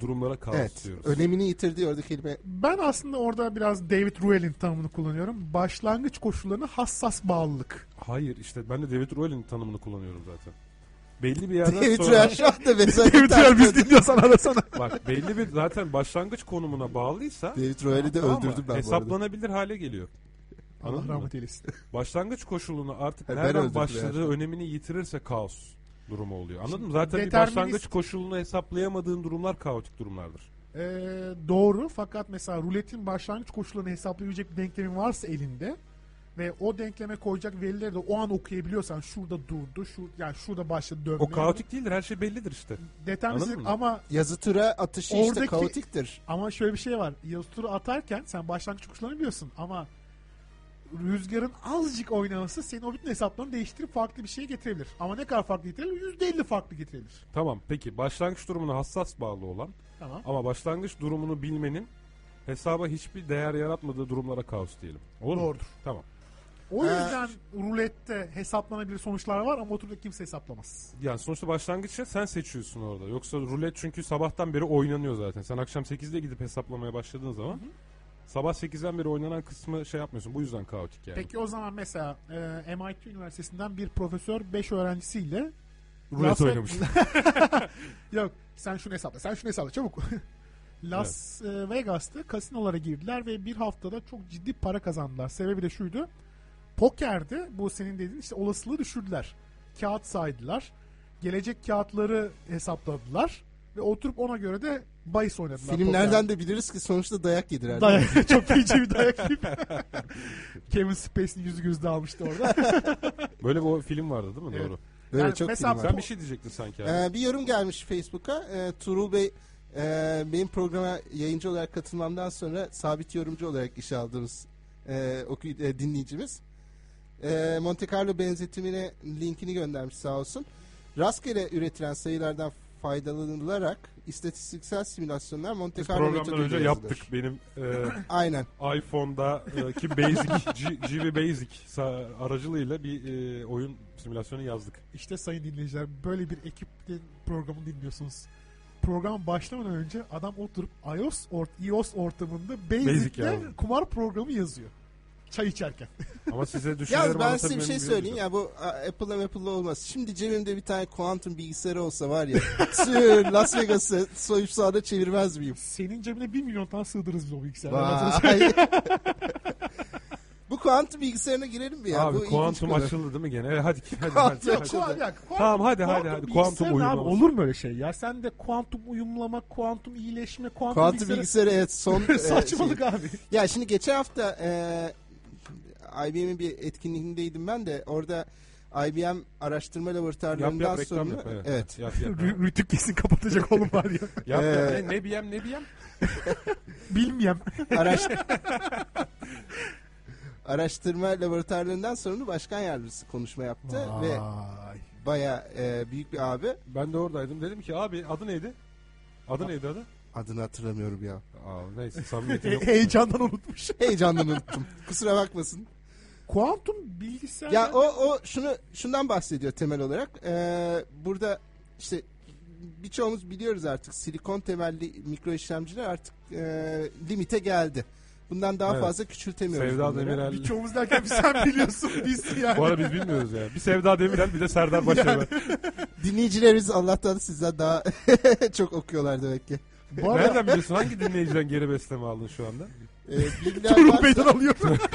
S2: durumlara kaos
S3: evet,
S2: diyoruz.
S3: önemini yitirdi orada kelime.
S4: Ben aslında orada biraz David Ruel'in tanımını kullanıyorum. Başlangıç koşullarına hassas bağlılık.
S2: Hayır işte ben de David Ruel'in tanımını kullanıyorum zaten. Belli bir yerden
S3: David
S2: sonra
S3: Ruel şu anda mesajı takip ediyor.
S4: dinliyorsan arasana.
S2: bak belli bir zaten başlangıç konumuna bağlıysa
S3: David Ruel'i de
S2: tamam mı?
S3: öldürdüm ben bu arada.
S2: hesaplanabilir hale geliyor. Anladın
S4: Allah
S2: mı?
S4: rahmet eylesin.
S2: Başlangıç koşulunu artık
S3: Ha, ben
S2: nereden
S3: öldürdüm
S2: başladığı önemini yitirirse kaos durumu oluyor. Anladın mı? Zaten bir
S4: determinist-
S2: başlangıç koşulunu hesaplayamadığın durumlar kaotik durumlardır.
S4: Ee, doğru fakat mesela ruletin başlangıç koşullarını hesaplayabilecek bir denklemin varsa elinde ve o denkleme koyacak verileri de o an okuyabiliyorsan şurada durdu, şu yani şurada başladı dönmeye.
S2: O kaotik değildir her şey bellidir işte. Anladın
S4: Deterministik
S2: mı?
S4: ama
S3: Yazı tura atışı işte
S4: Oradaki-
S3: kaotiktir.
S4: ama şöyle bir şey var. Yazı turu atarken sen başlangıç uçlarını biliyorsun ama rüzgarın azıcık oynaması senin o bütün hesaplarını değiştirip farklı bir şey getirebilir. Ama ne kadar farklı getirebilir? %50 farklı getirebilir.
S2: Tamam peki başlangıç durumuna hassas bağlı olan
S4: Tamam.
S2: ama başlangıç durumunu bilmenin hesaba hiçbir değer yaratmadığı durumlara kaos diyelim. Olur mu?
S4: Doğrudur.
S2: Tamam.
S4: O
S3: Ee,
S4: yüzden rulette hesaplanabilir sonuçlar var ama oturup da kimse hesaplamaz.
S2: Yani sonuçta başlangıçta sen seçiyorsun orada. Yoksa rulet çünkü sabahtan beri oynanıyor zaten. Sen akşam 8'de gidip hesaplamaya başladığın zaman sabah 8'den beri oynanan kısmı şey yapmıyorsun. Bu yüzden kaotik yani.
S4: Peki o zaman mesela e, MIT Üniversitesi'nden bir profesör 5 öğrencisiyle
S2: rulet
S4: Las-
S2: oynamışsın.
S4: Yok sen şunu hesapla sen şunu hesapla çabuk. Las e, Vegas'ta kasinolara girdiler ve bir haftada çok ciddi para kazandılar. Sebebi de şuydu. Pokerde bu senin dediğin işte olasılığı düşürdüler. Kağıt saydılar. Gelecek kağıtları hesapladılar. Ve oturup ona göre de bahis oynadılar.
S3: Filmlerden de biliriz ki sonuçta dayak yediler.
S4: pokerde. Dayak, çok feci bir dayak gibi. Kevin Spacey'nin yüzü gözü dağılmıştı orada.
S2: Böyle bir o film vardı değil mi?
S4: Evet.
S2: Doğru.
S3: Böyle
S4: Yani
S3: çok
S4: mesela
S3: film var.
S2: Sen bir şey diyecektin sanki abi.
S3: Ee, bir yorum gelmiş Facebook'a. Ee, Tuğrul Bey e, benim programa yayıncı olarak katılmamdan sonra sabit yorumcu olarak işe aldığımız e, oku, e, dinleyicimiz. E, Monte Carlo benzetimine linkini göndermiş sağ olsun. Rastgele üretilen sayılardan faydalanılarak istatistiksel simülasyonlar Monte
S2: Biz
S3: Carlo
S2: programdan
S3: metoduyla
S2: önce
S3: yazılır.
S2: yaptık. Benim e,
S3: Aynen.
S2: iPhone'da e, ki Basic, G- GV Basic sa- aracılığıyla bir e, oyun simülasyonu yazdık.
S4: İşte sayın dinleyiciler böyle bir ekiple programı dinliyorsunuz. Program başlamadan önce adam oturup iOS, ort, iOS ortamında
S2: Basic
S4: Basic'te
S2: yani.
S4: kumar programı yazıyor. Çay içerken.
S2: Ama size
S3: Yalnız
S2: düşüncelerimi
S3: ben size bir şey
S2: anlatabilmemi
S3: söyleyeyim
S2: bilmiyorum.
S3: ya bu a, Apple'a Apple'a olmaz. Şimdi cebimde bir tane kuantum bilgisayarı olsa var ya sür Las Vegas'ı soyup sağda çevirmez miyim?
S4: Senin cebine 1 milyon tane sığdırırız biz o bilgisayarı.
S3: Vay. bu kuantum bilgisayarına girelim mi ya?
S2: Abi
S3: bu ilginç
S2: kuantum
S3: konu.
S2: açıldı değil mi gene? Evet, hadi hadi. hadi,
S3: Kuantum
S2: hadi.
S3: açıldı.
S2: Tamam, hadi, hadi, hadi. Kuantum
S4: uyumlama.
S2: uyumlaması.
S4: Olur mu öyle şey ya? Sen de kuantum uyumlama, kuantum iyileşme, kuantum,
S3: Kuantum bilgisayarı evet son e,
S4: Saçmalık
S3: şey.
S4: abi.
S3: Ya şimdi geçen hafta e, IBM'in bir etkinliğindeydim ben de orada IBM araştırma
S2: Yap
S3: laboratuvarlarından
S2: yap reklam
S3: sonra
S2: yap. Evet.
S3: evet
S2: Yap yap.
S4: Rü- Rütük kesin kapatacak oğlum var ya.
S2: yap, yap.
S3: Ee,
S2: Ne, ne diyem ne diyem?
S4: Bilmeyem.
S3: Araş- araştırma laboratuvarlarından sorumlu başkan yardımcısı konuşma yaptı ve
S4: Vay.
S3: baya e, büyük bir abi
S2: Ben de oradaydım. Dedim ki abi adı neydi? Adı neydi adı?
S3: adını hatırlamıyorum ya.
S2: Aa, neyse samimiyetim
S4: He-
S2: yok.
S4: E, heyecandan unutmuş.
S3: Heyecandan unuttum. Kusura bakmasın.
S4: Kuantum bilgisayar...
S3: Ya o o şunu şundan bahsediyor temel olarak. Ee, burada işte birçoğumuz biliyoruz artık silikon temelli mikro işlemciler artık e, limite geldi. Bundan daha
S2: Evet.
S3: fazla küçültemiyoruz.
S2: Sevda
S3: bunları.
S2: Demirel.
S4: Birçoğumuz derken sen biliyorsun biz yani.
S2: Bu arada biz bilmiyoruz ya. Bir Sevda Demirel bir de Serdar Başar. var.
S3: Dinleyicilerimiz Allah'tan sizden daha çok okuyorlar demek ki.
S4: Bu
S2: Nereden biliyorsun? Hangi dinleyiciden geri besleme aldın şu anda?
S3: Ee, bilgiler
S4: Turul
S3: varsa-
S4: Bey'den alıyorum.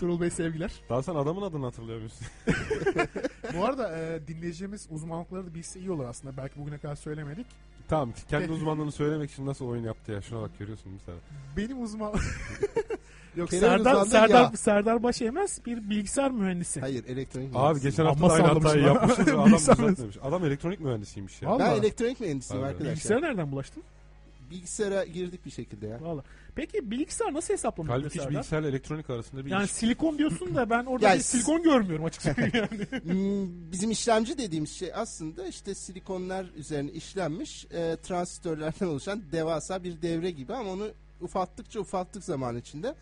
S4: Turul Bey sevgiler.
S2: Daha sen adamın adını hatırlayamıyorsun.
S4: Bu arada e, dinleyeceğimiz uzmanlıkları da bilse iyi olur aslında. Belki bugüne kadar söylemedik.
S2: tamam kendi uzmanlığını söylemek için nasıl oyun yaptı ya. Şuna bak görüyorsun mesela.
S4: Benim uzman... Yok
S3: Kenan
S4: Serdar,
S3: Özal'da
S4: Serdar,
S3: ya.
S4: Serdar Başemez bir bilgisayar mühendisi.
S3: Hayır elektronik
S2: Abi
S3: mühendisiyim.
S2: geçen
S4: Amma
S2: hafta da aynı
S4: sallamış
S2: hatayı
S4: lan.
S2: yapmışız. ve Adam
S4: Bilgisayar
S2: düzeltmemiş. Adam elektronik mühendisiymiş ya.
S4: Vallahi.
S3: Ben elektronik mühendisiyim
S2: Abi.
S3: arkadaşlar.
S4: Bilgisayara nereden bulaştın?
S3: Bilgisayara girdik bir şekilde ya.
S4: Vallahi. Peki bilgisayar nasıl hesaplanıyor?
S2: Halbuki hiç
S4: Serdar?
S2: bilgisayarla elektronik arasında bir
S4: Yani
S2: ilişki.
S4: silikon diyorsun da ben orada
S3: Ya
S4: bir
S3: s-
S4: silikon görmüyorum açıkçası. yani.
S3: Hmm, bizim işlemci dediğimiz şey aslında işte silikonlar üzerine işlenmiş e, transistörlerden oluşan devasa bir devre gibi ama onu ufalttıkça ufalttık zaman içinde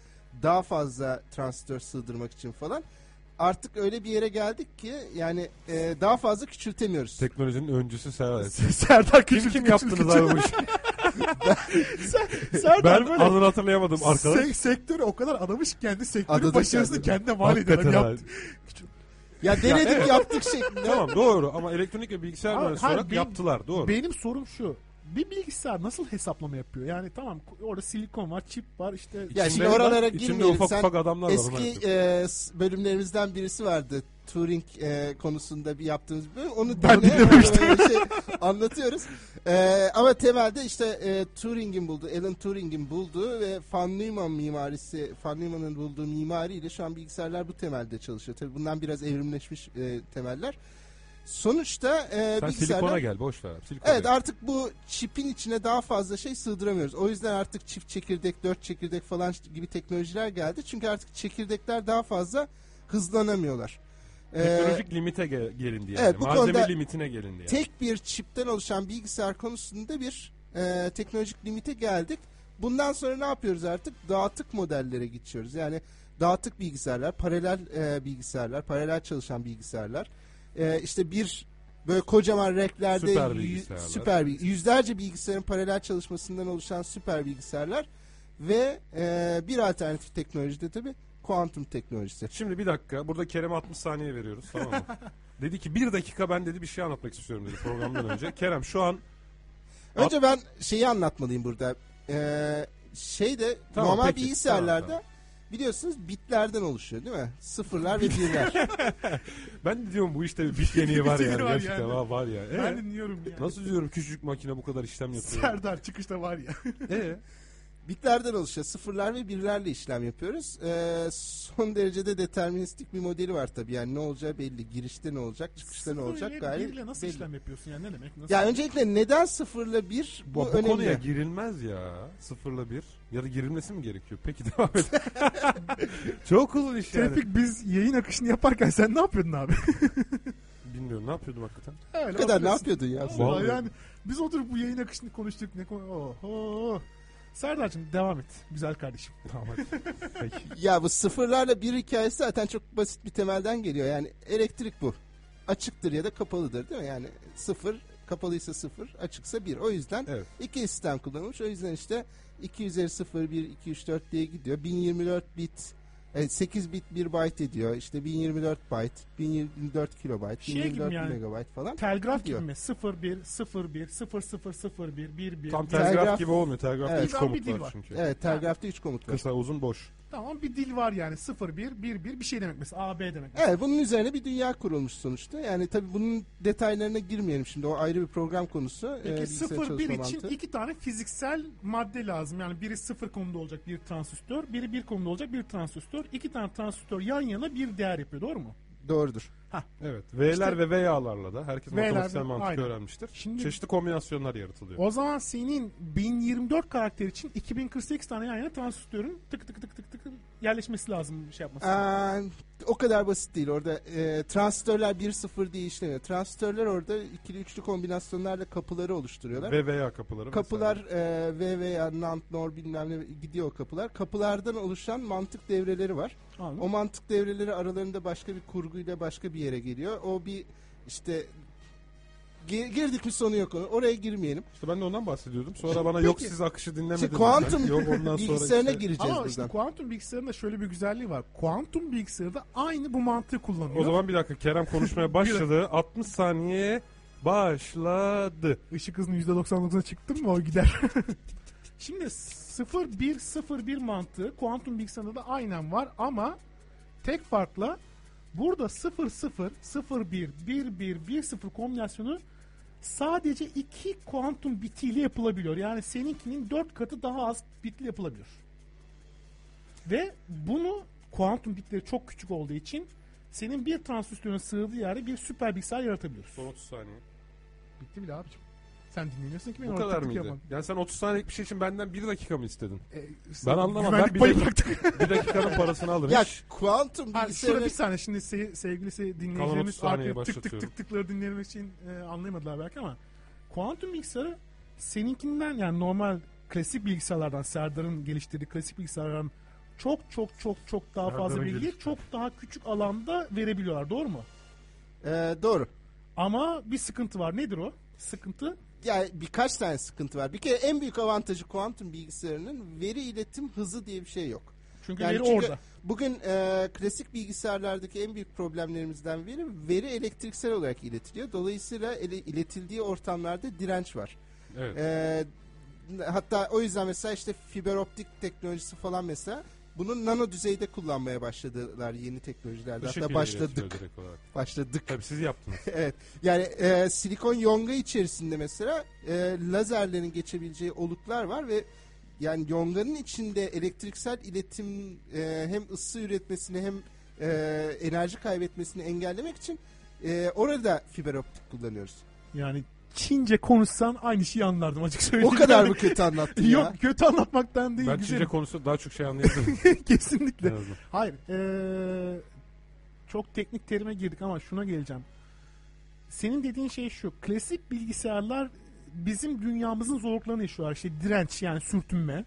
S3: daha fazla transistör sığdırmak için falan artık öyle bir yere geldik ki yani e, daha fazla küçültemiyoruz.
S2: Teknolojinin öncüsü Serhat.
S4: Serdar
S2: Kim kim yaptınız abi bu işi?
S4: Serdar
S2: Ben
S4: böyle-
S2: adını hatırlayamadım arkadaş.
S4: Se- sektörü o kadar adamış ki kendi sektörün
S3: Adadı
S4: başarısını
S3: kendini.
S4: kendine mal ediyor.
S2: Hakikaten
S4: Hani
S2: abi.
S4: yaptı.
S3: Ya denedik yaptık şey- şeklinde.
S2: Tamam doğru ama elektronik ve bilgisayar
S4: Hayır,
S2: mühendisi olarak
S4: hayır, benim-
S2: yaptılar doğru.
S4: Benim sorum şu. bir bilgisayar nasıl hesaplama yapıyor? Yani tamam orada silikon var, çip var işte
S3: Ya
S2: İçinde-
S3: şimdi oralara
S2: içinde
S3: girmeyelim.
S2: ufak
S3: Sen
S2: ufak adamlar var, onlar
S3: eski
S2: yapıyor.
S3: e, s- bölümlerimizden birisi vardı. Turing e, konusunda bir yaptığımız bir bölüm. Onu
S4: Ben
S3: onu hep
S4: dinlememiştim.
S3: böyle şey anlatıyoruz. E, ama temelde işte e, Turing'in bulduğu, Alan Turing'in bulduğu ve Van Neumann mimarisi, Van Neumann'ın bulduğu mimariyle şu an bilgisayarlar bu temelde çalışıyor. Tabii bundan biraz evrimleşmiş e, temeller. Sonuçta e,
S2: Sen
S3: bilgisayarlar
S2: silikona gel boş ver. abi, Silikona
S3: Evet
S2: gel.
S3: artık bu çipin içine daha fazla şey sığdıramıyoruz. O yüzden artık çift çekirdek, dört çekirdek falan gibi teknolojiler geldi. Çünkü artık çekirdekler daha fazla hızlanamıyorlar. Ee,
S2: Teknolojik limite ge- gelindi yani.
S3: evet, bu
S2: Malzeme
S3: konuda
S2: limitine gelindi yani.
S3: tek bir çipten oluşan bilgisayar konusunda bir e, teknolojik limite geldik. Bundan sonra ne yapıyoruz artık? Dağıtık modellere geçiyoruz. Yani dağıtık bilgisayarlar, paralel e, bilgisayarlar, paralel çalışan bilgisayarlar. E, işte bir böyle kocaman renklerde
S2: Süper
S3: yü-
S2: bilgisayarlar.
S3: süper bil- yüzlerce bilgisayarın paralel çalışmasından oluşan süper bilgisayarlar ve e, bir alternatif teknoloji de tabii kuantum teknolojisi.
S2: Şimdi bir dakika. Burada Kerem 60 saniye veriyoruz tamam mı? dedi ki bir dakika ben dedi bir şey anlatmak istiyorum dedi programdan önce. Kerem şu an
S3: Önce ben şeyi anlatmalıyım burada. Ee, şey de
S2: Tamam,
S3: normal
S2: peki.
S3: bilgisayarlarda
S2: Tamam,
S3: biliyorsunuz bitlerden oluşuyor değil mi? Sıfırlar ve birler.
S2: ben de diyorum bu işte bir bit yeniği var
S4: Bir
S2: yani.
S4: yeniği var
S2: Gerçekten
S4: yani.
S2: ha, var ya. Ee,
S4: ben dinliyorum yani.
S2: nasıl diyorum küçücük makine bu kadar işlem yapıyor.
S4: Serdar çıkışta var ya.
S2: Ee,
S3: bitlerden oluşuyor. Sıfırlar ve birlerle işlem yapıyoruz. Ee, son derecede deterministik bir modeli var tabii. Yani ne olacağı belli. Girişte ne olacak, çıkışta ne olacak gayet
S4: Birle nasıl
S3: belli.
S4: işlem yapıyorsun yani ne demek? Nasıl?
S3: Ya öncelikle neden sıfırla bir bu,
S2: bu, bu
S3: önemli.
S2: konuya girilmez ya. Sıfırla bir. Ya da girilmesi mi gerekiyor? Peki devam et. Çok uzun iş yani.
S4: Tevfik biz yayın akışını yaparken sen ne yapıyordun abi?
S2: Bilmiyorum ne yapıyordum hakikaten.
S4: Öyle
S3: Bu kadar ne yapıyordun
S4: oturuyorsun.
S3: ya?
S4: Allah
S3: sen?
S2: Vallahi.
S4: yani biz oturup bu yayın akışını konuştuk ne konu. Oho. Serdar'cığım devam et. Güzel kardeşim.
S2: Tamam hadi. Peki.
S3: Ya bu sıfırlarla bir hikayesi zaten çok basit bir temelden geliyor. Yani elektrik bu. Açıktır ya da kapalıdır değil mi? Yani sıfır, kapalıysa sıfır, açıksa bir. O yüzden
S2: Evet.
S3: iki sistem kullanılmış. O yüzden işte 2 üzeri 0, 1, 2, 3, 4 diye gidiyor. 1024 bit, e, 8 bit 1 byte ediyor. İşte 1024 byte, 1024 kilobayt,
S4: Şey gibi
S3: 1024
S4: yani.
S3: megabayt falan.
S4: Telgraf gibi
S3: Gidiyor.
S4: mi? 01 01 00 01 11.
S2: Tam
S3: Telgraf-
S2: telgraf, gibi olmuyor. Telgrafta
S3: Evet.
S2: üç
S4: Tam bir
S2: komut
S4: dil
S2: var
S4: var.
S2: çünkü.
S3: Evet, telgrafta 3 komut var.
S2: Kısa uzun boş.
S4: Tamam bir dil var yani 01 11 bir şey demek mesela AB demek.
S3: Evet bunun üzerine bir dünya kurulmuş sonuçta. Yani tabii bunun detaylarına girmeyelim şimdi. O ayrı bir program konusu.
S4: Peki
S3: Ee, bilgisayar
S4: 0 1
S3: çalışma
S4: için
S3: mantığı.
S4: iki tane fiziksel madde lazım. Yani biri 0 konumda olacak bir transistör, biri 1 konumda olacak bir transistör. İki tane transistör yan yana bir değer yapıyor doğru mu?
S3: Doğrudur.
S2: Evet. V'ler
S4: İşte-
S2: ve V'lerle da herkes
S4: V'ler
S2: matematiksel
S4: ve-
S2: mantık
S4: aynen.
S2: öğrenmiştir.
S4: Şimdi-
S2: Çeşitli kombinasyonlar yaratılıyor.
S4: O zaman senin 1024 karakter için 2048 tane yan yana transistörün tık tık tık tık tık tık yerleşmesi lazım
S3: Ee,
S4: şey yapması.
S3: Aa, o kadar basit değil. Orada e, transistörler 1-0 diye işlemiyor. Transistörler orada ikili üçlü kombinasyonlarla kapıları oluşturuyorlar.
S2: Ve veya kapıları.
S3: kapılar
S2: vesaire.
S3: e, V veya NAND, NOR bilmem ne gidiyor o kapılar. Kapılardan oluşan mantık devreleri var.
S4: Anladın mı?
S3: O mantık devreleri aralarında başka bir kurguyla başka bir yere geliyor. O bir işte gi- girdik mi sonu yok. onun. Oraya girmeyelim.
S2: İşte ben de ondan bahsediyordum. Sonra bana yok siz akışı dinlemediniz.
S3: İşte kuantum
S2: Yok ondan sonra
S3: bilgisayarına
S2: işte-
S3: gireceğiz
S4: Ama işte
S3: buradan.
S4: kuantum bilgisayarında şöyle bir güzelliği var. Kuantum bilgisayarda aynı bu mantığı kullanıyor.
S2: O zaman bir dakika Kerem konuşmaya başladı. 60 saniye başladı.
S4: Işık hızının %99'a çıktın mı o gider. Şimdi 0-1-0-1 mantığı kuantum bilgisayarında da aynen var ama tek farkla burada 0-0-0-1-1-1-1-0 kombinasyonu sadece iki kuantum bitiyle yapılabiliyor. Yani seninkinin 4 katı daha az bitle yapılabiliyor. Ve bunu kuantum bitleri çok küçük olduğu için senin bir transistörün sığdığı yere bir süper bilgisayar yaratabiliyorsun.
S2: Son 30 saniye.
S4: Bitti bile abicim. Sen dinleniyorsun ki ben
S2: Bu kadar
S4: ortaklık
S2: mıydı?
S4: yapamam.
S2: Yani sen 30 saniyelik bir şey için benden 1 dakika mı istedin?
S4: E,
S2: Ben anlamam. Ben
S4: güvenlik
S2: bir,
S4: payı
S2: dakika-
S4: bıraktık.
S2: bir dakikanın parasını alırım.
S3: Ya
S2: Hiç-
S3: kuantum
S4: Ha, şurada
S2: şey
S3: bilgisayarı...
S4: bir saniye şimdi se- sevgili se-
S2: Kalan 30
S4: dinleyicilerimiz
S2: saniyeyi
S4: artık tık tık
S2: başlatıyorum.
S4: tık tıkları dinlemek için e, anlayamadılar belki ama kuantum bilgisayarı seninkinden yani normal klasik bilgisayarlardan Serdar'ın geliştirdiği klasik bilgisayarlardan çok çok çok çok daha fazla
S2: Serdar'ın
S4: bilgiyi
S2: geliştirdiği.
S4: çok daha küçük alanda verebiliyorlar doğru mu?
S3: Ee, doğru.
S4: Ama bir sıkıntı var. Nedir o? Sıkıntı
S3: yani birkaç tane sıkıntı var. Bir kere en büyük avantajı kuantum bilgisayarının veri iletim hızı diye bir şey yok.
S4: çünkü
S3: Yani
S4: veri
S3: çünkü
S4: orada.
S3: Bugün e, klasik bilgisayarlardaki en büyük problemlerimizden biri veri elektriksel olarak iletiliyor. Dolayısıyla ele- iletildiği ortamlarda direnç var.
S2: Evet.
S4: e,
S3: Ee, hatta o yüzden mesela işte fiber optik teknolojisi falan mesela bunu nano düzeyde kullanmaya başladılar yeni teknolojilerde.
S2: Bu
S3: Hatta
S2: şekilde
S3: başladık.
S2: ilerliyor direkt olarak.
S3: Başladık.
S2: Tabii siz yaptınız.
S3: evet. Yani e, silikon yonga içerisinde mesela e, lazerlerin geçebileceği oluklar var ve yani yonganın içinde elektriksel iletim e, hem ısı üretmesini hem e, enerji kaybetmesini engellemek için e, orada fiber optik kullanıyoruz.
S4: Yani Çince konuşsan aynı şeyi anlardım açık
S3: O
S4: söyleyeyim.
S3: kadar
S4: Yani-
S3: mı kötü anlattın ya?
S4: Yok kötü anlatmaktan değil.
S2: ben
S4: güzel.
S2: Çince konusu daha çok şey anlayabilirim.
S4: Kesinlikle.
S2: en azından.
S4: Hayır. eee, çok teknik terime girdik ama şuna geleceğim. Senin dediğin şey şu. Klasik bilgisayarlar bizim dünyamızın zorluklarını yaşıyorlar. İşte direnç yani sürtünme.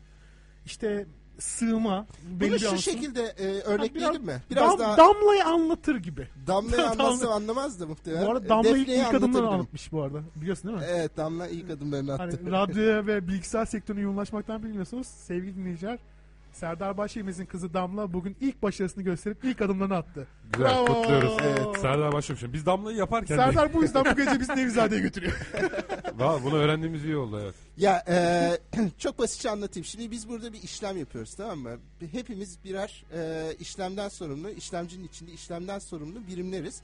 S4: işte sığma. belli
S3: Bunu
S4: bir
S3: şu
S4: ansın.
S3: şekilde e,
S4: biraz
S3: örnekleyelim mi? Biraz
S4: Dam-
S3: daha
S4: Damlayı anlatır gibi.
S3: Damla'yı
S4: Damla-
S3: anlatsam anlamaz da muhtemelen.
S4: Bu arada
S3: E,
S4: Damla ilk,
S3: Defne'yi
S4: ilk adımları
S3: anlatabilirim.
S4: anlatmış bu arada. Biliyorsun değil mi?
S3: Evet Damla ilk adımlarını attı.
S4: Hani radyoya ve bilgisayar sektörüne yoğunlaşmaktan bilmiyorsunuz. Sevgili dinleyiciler, Serdar Başyemez'in kızı Damla bugün ilk başarısını gösterip ilk adımlarını attı.
S2: Güzel
S4: Bravo.
S2: kutluyoruz.
S4: Evet.
S2: Serdar başlamış. Biz damlayı yaparken Serdar...
S4: Serdar bu yüzden bu gece bizi Nevizade'ye götürüyor.
S2: bunu öğrendiğimiz iyi oldu evet.
S3: Ya e, çok basitçe anlatayım. Şimdi biz burada bir işlem yapıyoruz tamam mı? Hepimiz birer e, işlemden sorumlu, işlemcinin içinde işlemden sorumlu birimleriz.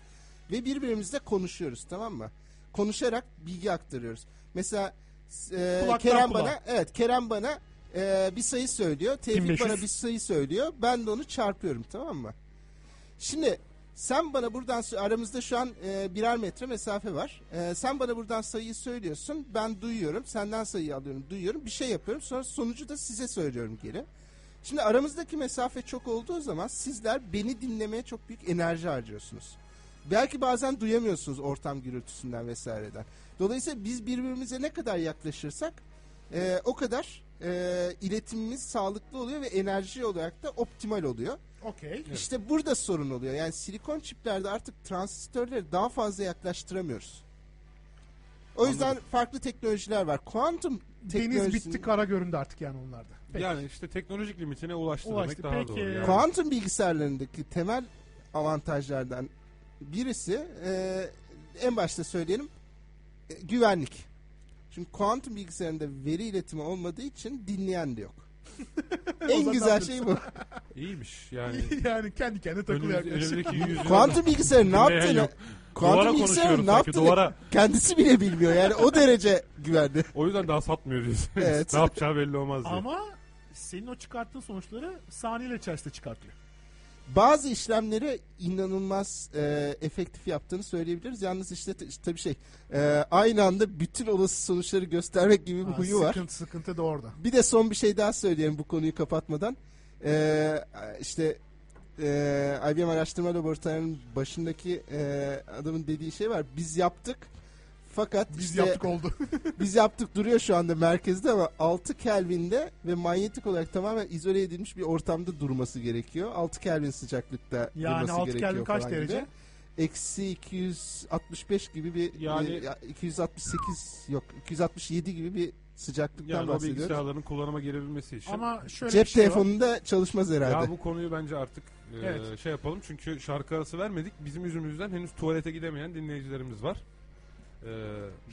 S3: Ve birbirimizle konuşuyoruz tamam mı? Konuşarak bilgi aktarıyoruz. Mesela e,
S4: Kulaktan
S3: Kerem
S4: kulağa.
S3: bana evet Kerem bana e, bir sayı söylüyor. Tevfik
S4: 1500.
S3: bana bir sayı söylüyor. Ben de onu çarpıyorum tamam mı? Şimdi sen bana buradan sö- aramızda şu an e, birer metre mesafe var. E, sen bana buradan sayıyı söylüyorsun. Ben duyuyorum. Senden sayıyı alıyorum. Duyuyorum. Bir şey yapıyorum. Sonra sonucu da size söylüyorum geri. Şimdi aramızdaki mesafe çok olduğu zaman sizler beni dinlemeye çok büyük enerji harcıyorsunuz. Belki bazen duyamıyorsunuz ortam gürültüsünden vesaireden. Dolayısıyla biz birbirimize ne kadar yaklaşırsak e, o kadar e, iletimimiz sağlıklı oluyor ve enerji olarak da optimal oluyor.
S4: Okey.
S3: İşte burada sorun oluyor. Yani silikon çiplerde artık transistörleri daha fazla yaklaştıramıyoruz. O yüzden farklı teknolojiler var. Kuantum
S4: Deniz
S3: teknolojisi.
S4: bitti kara göründü artık yani onlarda. Peki.
S2: Yani işte teknolojik limitine ulaştı, demek
S4: Ulaştı,
S2: daha
S4: peki.
S2: doğru. Yani.
S3: Kuantum bilgisayarlarındaki temel avantajlardan birisi e, en başta söyleyelim e, güvenlik. Çünkü kuantum bilgisayarında veri iletimi olmadığı için dinleyen de yok. en
S4: zaman
S3: güzel
S4: dur.
S3: şey bu.
S2: İyiymiş yani.
S4: yani kendi kendine takılıyor
S2: Önümüz-
S4: arkadaşlar.
S2: önümüzdeki yüzyılda-
S3: Kuantum bilgisayarın ne
S2: Dinleyen
S3: yaptığını
S2: yok. Duvara
S3: Kuantum bilgisayarın
S2: konuşuyoruz
S3: ne
S2: sanki,
S3: yaptığını
S2: duvara.
S3: kendisi bile bilmiyor. Yani o derece güvenli.
S2: O yüzden daha satmıyoruz.
S3: Evet.
S2: ne yapacağı belli olmaz diye.
S4: Ama senin o çıkarttığın sonuçları saniyeler içerisinde çıkartıyor.
S3: Bazı işlemleri inanılmaz e, efektif yaptığını söyleyebiliriz. Yalnız işte t- işte tabii şey e, aynı anda bütün olası sonuçları göstermek gibi bir
S4: Ha,
S3: huyu var.
S4: Sıkıntı, sıkıntı da orada.
S3: Bir de son bir şey daha söyleyeyim bu konuyu kapatmadan. Ee, işte e, IBM Araştırma Laboratuvarı'nın başındaki e, adamın dediği şey var. Biz yaptık fakat
S4: Biz
S3: işte,
S4: yaptık oldu.
S3: biz yaptık duruyor şu anda merkezde ama 6 Kelvin'de ve manyetik olarak tamamen izole edilmiş bir ortamda durması gerekiyor. 6 Kelvin sıcaklıkta
S4: yani
S3: durması
S4: 6
S3: gerekiyor
S4: Kelvin kaç
S3: falan gibi.
S4: derece?
S3: Eksi 265 gibi bir e,
S2: Yani-
S3: yani 268 yok 267 gibi bir sıcaklıktan
S2: Yani o
S3: bahsediyoruz.
S2: bilgisayarların kullanıma gelebilmesi için.
S4: Ama şöyle
S3: Cep
S4: bir şey var.
S3: telefonunda çalışmaz herhalde.
S2: Ya bu konuyu bence artık e,
S4: Evet.
S2: şey yapalım çünkü şarkı arası vermedik. Bizim yüzümüzden henüz tuvalete gidemeyen dinleyicilerimiz var. E,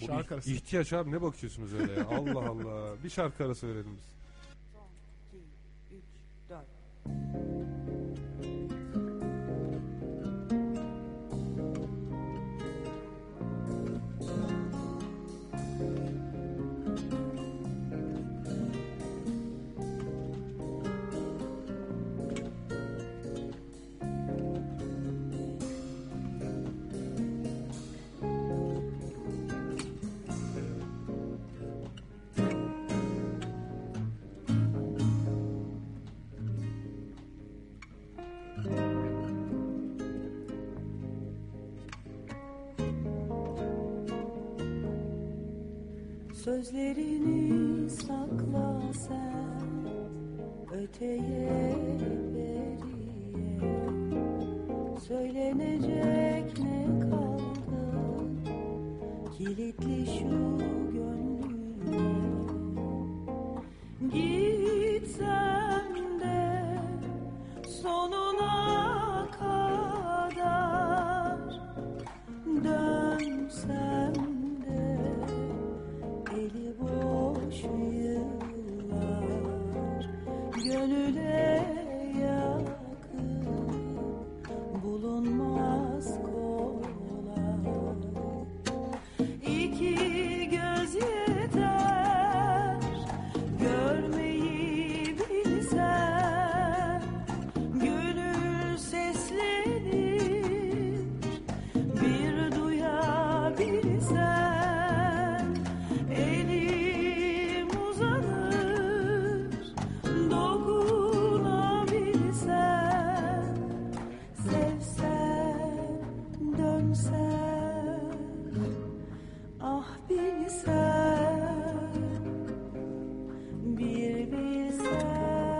S2: bu
S4: Şarkı
S2: ih-
S4: arası.
S2: ihtiyaç abi ne bakıyorsunuz öyle ya? Allah Allah. Bir şarkı arası verelim biz.
S7: 2, 3, 4. Sözlerini sakla sen öteye beriye Söylenecek ne kaldı kilitli şu gönlüme Gitsem de sonuna kadar Dönsem de Eli boş Küle yakın bulunmaz kolay İki göz yeter görmeyi bilsen Gönül seslenir bir duyabilsen Elim uzanır dokunabilsen Sevsen dönsen ah bilsen Bir bilsen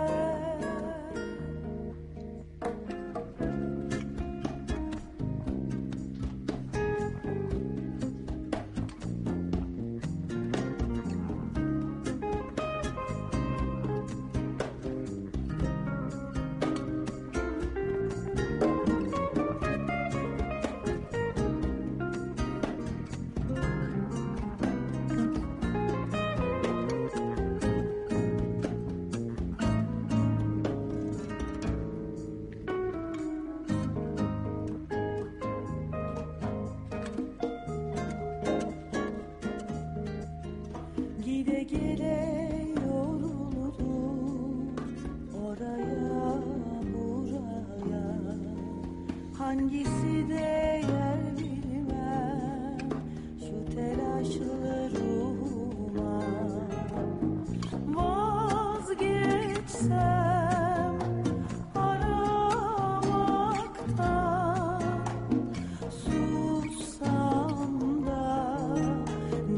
S7: Gide gele yoruldum oraya buraya Hangisi de yer bilmem şu telaşlı ruhuma Vazgeçsem aramaktan Sussam da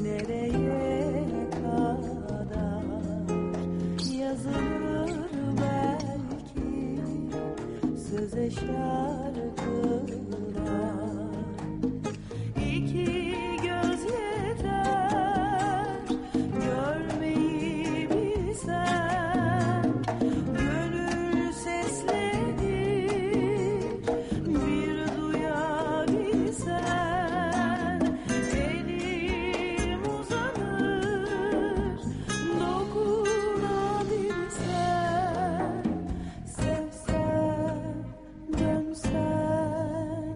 S7: nereye kadar yazılır belki söze şarkılar İki göz yeter görmeyi bilsen Gönül seslenir bir duyabilsen Elim uzanır dokunabilsen Sevsen dönsen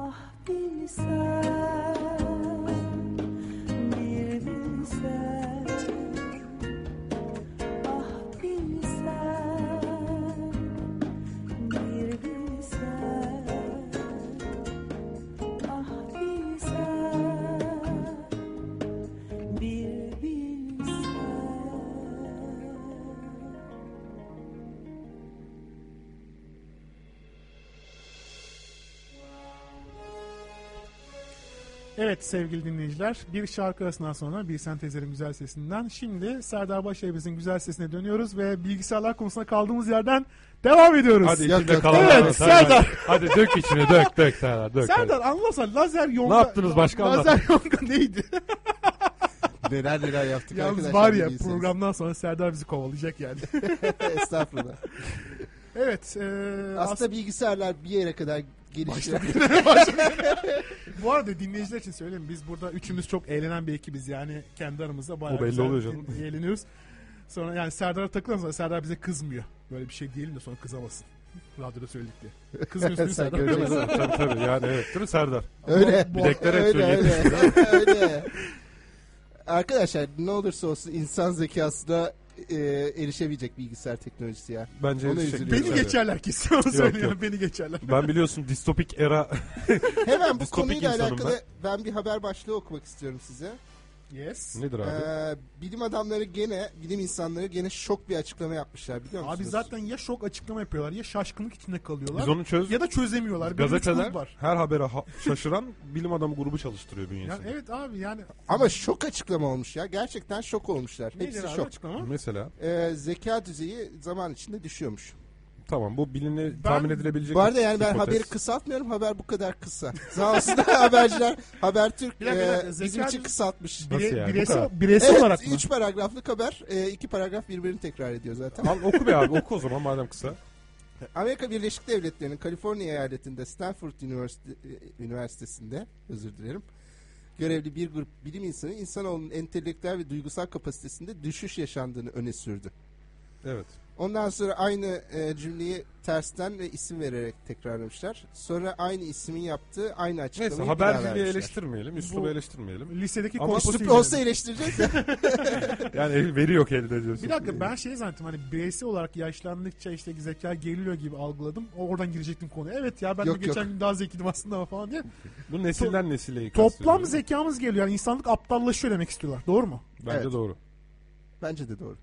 S7: Ah bilsen, bir bilsen Ah bilsen, bir bilsen Ah bilsen, bir bilsen
S4: Evet sevgili dinleyiciler bir şarkı arasından sonra bir sentezlerin güzel sesinden şimdi Serdar Başaybız'ın güzel sesine dönüyoruz ve bilgisayarlar konusunda kaldığımız yerden devam ediyoruz.
S2: Hadi
S3: Yok,
S2: içinde
S3: yok.
S2: kalan.
S4: Evet,
S2: Hadi,
S4: Serdar.
S2: Hadi dök içine dök dök Serdar dök.
S4: Serdar anlasana lazer yonga...
S2: Ne yaptınız başka
S4: Lazer
S2: anlatın.
S4: yonga neydi?
S3: Neler neler yaptık
S4: Yalnız
S3: arkadaşlar.
S4: var ya
S3: bilseniz.
S4: programdan sonra Serdar bizi kovalayacak yani.
S3: Estağfurullah.
S4: evet. e, eee
S3: Aslında bilgisayarlar bir yere kadar gelişti.
S4: Bu arada dinleyiciler için söyleyeyim biz burada üçümüz çok eğlenen bir ekibiz yani kendi aramızda bayağı
S2: O belli
S4: güzel
S2: oluyor canım.
S4: din- eğleniyoruz. Sonra yani Serdar'a takılan sonra Serdar bize kızmıyor. Böyle bir şey diyelim de sonra kızamasın. Radyoda söyledik diye. Kızmıyorsun değil mi
S3: Sen
S4: Serdar.
S3: göreceksin.
S2: Tabii, tabii tabii yani evet değil mi Serdar?
S3: Öyle.
S4: Bu-
S2: Bilekler hep
S3: öyle
S2: söylüyor.
S3: öyle. öyle. Arkadaşlar ne olursa olsun insan zekasına e, erişemeyecek bilgisayar teknolojisi ya.
S2: Bence
S3: Onu
S2: erişecek.
S3: üzülüyorum.
S4: Beni geçerler kesin onu söylüyorum.
S2: yok.
S4: Beni geçerler.
S2: Ben biliyorsun distopik era
S3: Hemen bu
S2: Distopik
S3: konuyla
S2: insanım
S3: alakalı ben. bir haber başlığı okumak istiyorum size.
S4: Yes.
S2: nedir abi?
S3: Ee, bilim adamları gene, bilim insanları gene şok bir açıklama yapmışlar biliyor musunuz?
S4: Abi zaten ya şok açıklama yapıyorlar ya şaşkınlık içinde kalıyorlar.
S2: Biz onu çöz.
S4: Ya da çözemiyorlar. Böyle bir
S2: Gazeteler
S4: çukur var.
S2: her habere ha- şaşıran bilim adamı grubu çalıştırıyor bünyesinde.
S4: Yani evet abi yani
S3: Ama şok açıklama olmuş ya. Gerçekten şok olmuşlar.
S4: nedir
S3: Hepsi
S4: abi
S3: şok.
S4: açıklama?
S2: Mesela
S3: Ee, zeka düzeyi zaman içinde düşüyormuş.
S2: tamam bu biline tahmin edilebilecek
S3: Bu arada yani ben
S2: hipotez.
S3: haberi kısaltmıyorum. Haber bu kadar kısa. Sağ olsunlar haberciler. Habertürk
S4: Bir dakika,
S3: e,
S4: bir dakika.
S3: bizim
S4: Zeka
S3: için
S4: düz-
S3: kısaltmış.
S2: Nasıl
S4: Bire-
S2: yani? Bu
S4: bireysel,
S2: kadar.
S4: bireysel
S3: Evet,
S4: olarak mı?
S3: üç paragraflık haber, e, iki paragraf birbirini tekrar ediyor zaten.
S2: Al oku be abi oku o zaman madem kısa.
S3: Amerika Birleşik Devletleri'nin Kaliforniya eyaletinde Stanford Üniversite, e, Üniversitesi'nde özür dilerim. Görevli bir grup bilim insanı insanoğlunun entelektüel ve duygusal kapasitesinde düşüş yaşandığını öne sürdü.
S2: Evet.
S3: Ondan sonra aynı e, cümleyi tersten ve isim vererek tekrarlamışlar. Sonra aynı ismin yaptığı aynı açıklamayı
S2: Neyse
S3: Neyse,
S2: haberciliği eleştirmeyelim. Üslubu
S4: Bu-
S2: eleştirmeyelim.
S4: Lisedeki
S2: Ama
S4: kompostu
S3: Üslup
S4: izledim.
S3: olsa eleştireceğiz ya.
S2: Yani el- veri yok elde diyorsun.
S4: Bir dakika ben şey zannettim hani bireysel olarak yaşlandıkça işte zeka geriliyor gibi algıladım. O- Oradan girecektim konuya. Evet ya ben
S3: Yok,
S4: de geçen
S3: yok.
S4: gün daha zekiydim aslında ama falan diye.
S2: Bu nesilden nesile
S4: Toplam
S2: kastediyorum.
S4: zekamız geliyor. Yani insanlık aptallaşıyor demek istiyorlar. Doğru mu?
S2: Bence
S3: Evet.
S2: doğru.
S3: Bence de doğru.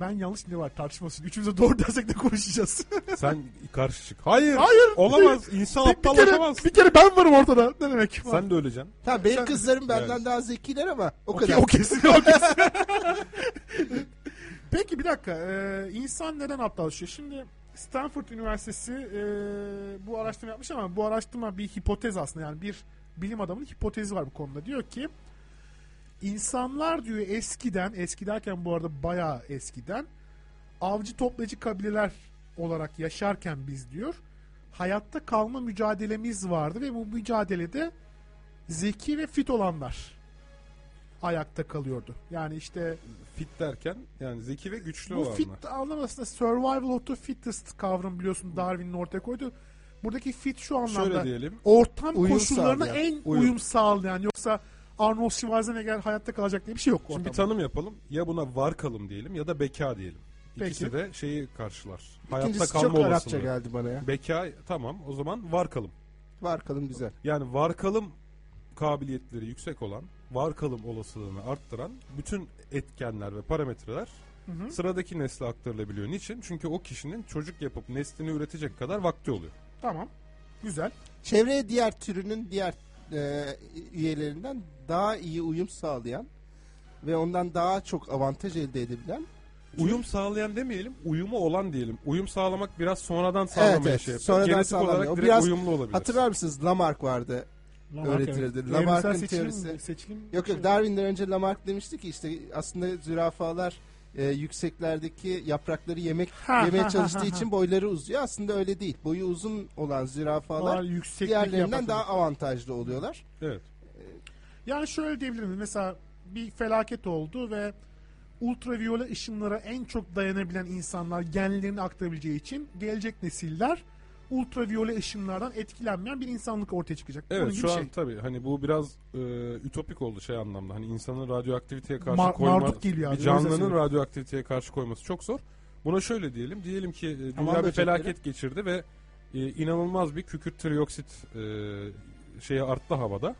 S4: Ben yanlış ne var tartışmasın. Üçümüz de doğru dersek de konuşacağız.
S2: Sen karşı çık. Hayır.
S4: Hayır.
S2: Olamaz. İnsan
S4: bir, bir kere,
S2: aptallaşamaz.
S4: bir kere ben varım ortada. Ne demek?
S2: Sen de öleceksin.
S3: Tamam benim kızlarım benden daha zekiler ama o
S4: Okey,
S3: kadar.
S4: o kesin, o kesin. Peki bir dakika. Ee, insan neden aptallaşıyor? Şimdi Stanford Üniversitesi ee, bu araştırma yapmış ama bu araştırma bir hipotez aslında. Yani bir bilim adamının hipotezi var bu konuda. Diyor ki insanlar diyor eskiden, eski derken bu arada bayağı eskiden avcı toplayıcı kabileler olarak yaşarken biz diyor hayatta kalma mücadelemiz vardı ve bu mücadelede zeki ve fit olanlar ayakta kalıyordu. Yani işte
S2: Fit derken yani zeki ve güçlü
S4: bu
S2: olanlar.
S4: fit anlamasında survival of the fittest kavramı biliyorsun Darwin'in ortaya koydu. Buradaki fit şu anlamda
S2: Şöyle diyelim.
S4: ortam
S3: Uyum
S4: koşullarına
S3: sağlayan,
S4: en uyum,
S2: uyum.
S4: sağlayan yoksa Arnold Schwarzenegger hayatta kalacak diye bir şey yok
S2: Şimdi bir
S4: ortamda.
S2: tanım yapalım. Ya buna var kalım diyelim ya da beka diyelim. İkisi
S4: Peki.
S2: de şeyi karşılar. Hayatta
S3: İkincisi
S2: kalma
S3: çok Arapça
S2: olasılığı.
S3: geldi bana ya.
S2: Beka tamam o zaman var kalım.
S3: Var kalın güzel.
S2: Yani var kalım kabiliyetleri yüksek olan, var kalım olasılığını arttıran bütün etkenler ve parametreler sıradaki nesle aktarılabiliyor. Niçin? Çünkü o kişinin çocuk yapıp neslini üretecek kadar vakti oluyor.
S4: Tamam. Güzel.
S3: Çevreye diğer türünün diğer e, üyelerinden daha iyi uyum sağlayan ve ondan daha çok avantaj elde edebilen
S2: Uyum sağlayan demeyelim, uyumu olan diyelim. Uyum sağlamak biraz sonradan sağlamaya
S3: evet.
S2: şey yapıyor.
S3: Sonradan
S2: Genetik
S3: sağlamıyor. O
S2: olarak direkt
S3: biraz
S2: uyumlu olabilir.
S3: Hatırlar mısınız Lamarck vardı. Öğretilirdi.
S4: evet.
S3: Lamarck'ın
S4: Evrimsel seçilim-
S3: teorisi.
S4: seçilim-
S3: Yok yok Darwin'den önce Lamarck demişti ki işte aslında zürafalar e, yükseklerdeki yaprakları yemek
S4: Ha,
S3: yemeye
S4: ha, ha,
S3: çalıştığı
S4: ha,
S3: için boyları uzuyor. Aslında öyle değil. Boyu uzun olan
S4: Var,
S3: zürafalar
S4: yükseklik
S3: diğerlerinden
S4: yapar.
S3: daha avantajlı oluyorlar.
S2: Evet.
S4: Yani şöyle diyebilir miyiz? Mesela bir felaket oldu ve ultraviyole ışınlara en çok dayanabilen insanlar genlerini aktarabileceği için gelecek nesiller ultraviyole ışınlardan etkilenmeyen bir insanlık ortaya çıkacak. Bunun
S2: Evet
S4: gibi
S2: şu an
S4: şey.
S2: tabii hani bu biraz e, ütopik oldu şey anlamda. Hani insanın radyoaktiviteye karşı
S4: Mar-
S2: koyma
S4: marduk geliyor abi,
S2: bir
S4: o yüzden
S2: canlının
S4: söylüyorum.
S2: radyoaktiviteye karşı koyması çok zor. Buna şöyle diyelim. Diyelim ki e, dünya
S3: Tamam,
S2: bir
S3: böcekleri.
S2: felaket geçirdi ve e, inanılmaz bir kükürt trioksit e, şeyi arttı havada.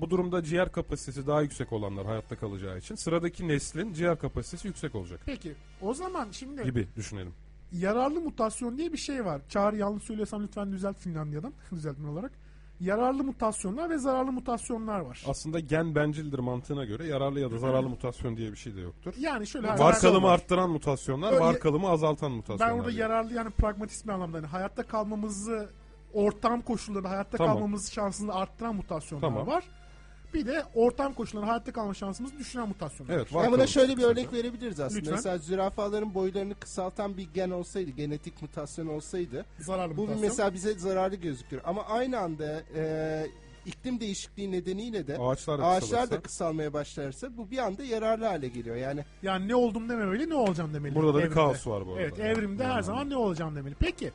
S2: Bu durumda ciğer kapasitesi daha yüksek olanlar hayatta kalacağı için sıradaki neslin ciğer kapasitesi yüksek olacak
S4: Peki o zaman şimdi
S2: gibi düşünelim.
S4: yararlı mutasyon diye bir şey var. Çağrı yanlış söylüyorsam lütfen düzelt Finlandiya'dan düzeltme olarak. Yararlı mutasyonlar ve zararlı mutasyonlar var.
S2: Aslında gen bencildir mantığına göre yararlı ya da zararlı mutasyon diye bir şey de yoktur.
S4: Yani şöyle
S2: Var
S4: herhalde-
S2: kalımı arttıran mutasyonlar,
S4: Öyle-
S2: var kalımı azaltan mutasyonlar.
S4: Ben orada
S2: diyor.
S4: yararlı yani pragmatist bir anlamda hani hayatta kalmamızı ortam koşullarında hayatta
S2: Tamam.
S4: kalmamız şansını arttıran mutasyonlar
S2: Tamam.
S4: var. Bir de ortam koşullarında hayatta kalma şansımızı düşüren mutasyonlar.
S2: Evet, var
S3: Yani buna
S2: kalım
S3: şöyle bir
S2: mutasyonu.
S3: örnek verebiliriz aslında.
S4: Lütfen.
S3: Mesela zürafaların boylarını kısaltan bir gen olsaydı, genetik mutasyon olsaydı
S4: Zararlı
S3: bu
S4: mutasyon.
S3: mesela bize zararlı gözükür. Ama aynı anda e, iklim değişikliği nedeniyle de
S2: Ağaçlar da
S3: ağaçlar da
S2: kısalırsa.
S3: kısalmaya başlarsa bu bir anda yararlı hale geliyor. Yani
S4: Yani ne oldum deme öyle ne olacağım demeli.
S2: Burada da bir
S4: evrimde.
S2: kaos var bu arada.
S4: Evet evrimde
S2: Yani
S4: her zaman ne olacağım demeli. Peki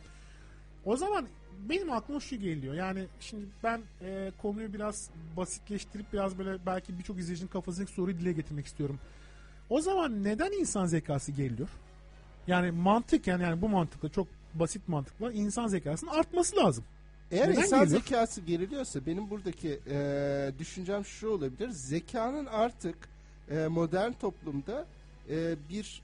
S4: o zaman benim aklıma şu geliyor. Yani şimdi ben e, konuyu biraz basitleştirip biraz böyle belki birçok izleyicinin kafasındaki soruyu dile getirmek istiyorum. O zaman neden insan zekası geriliyor? Yani mantık yani, yani bu mantıkla çok basit mantıkla insan zekasının artması lazım.
S3: Eğer
S4: Neden
S3: insan
S4: geliyor?
S3: zekası geriliyorsa benim buradaki e, düşüncem şu olabilir. Zekanın artık e, modern toplumda e, bir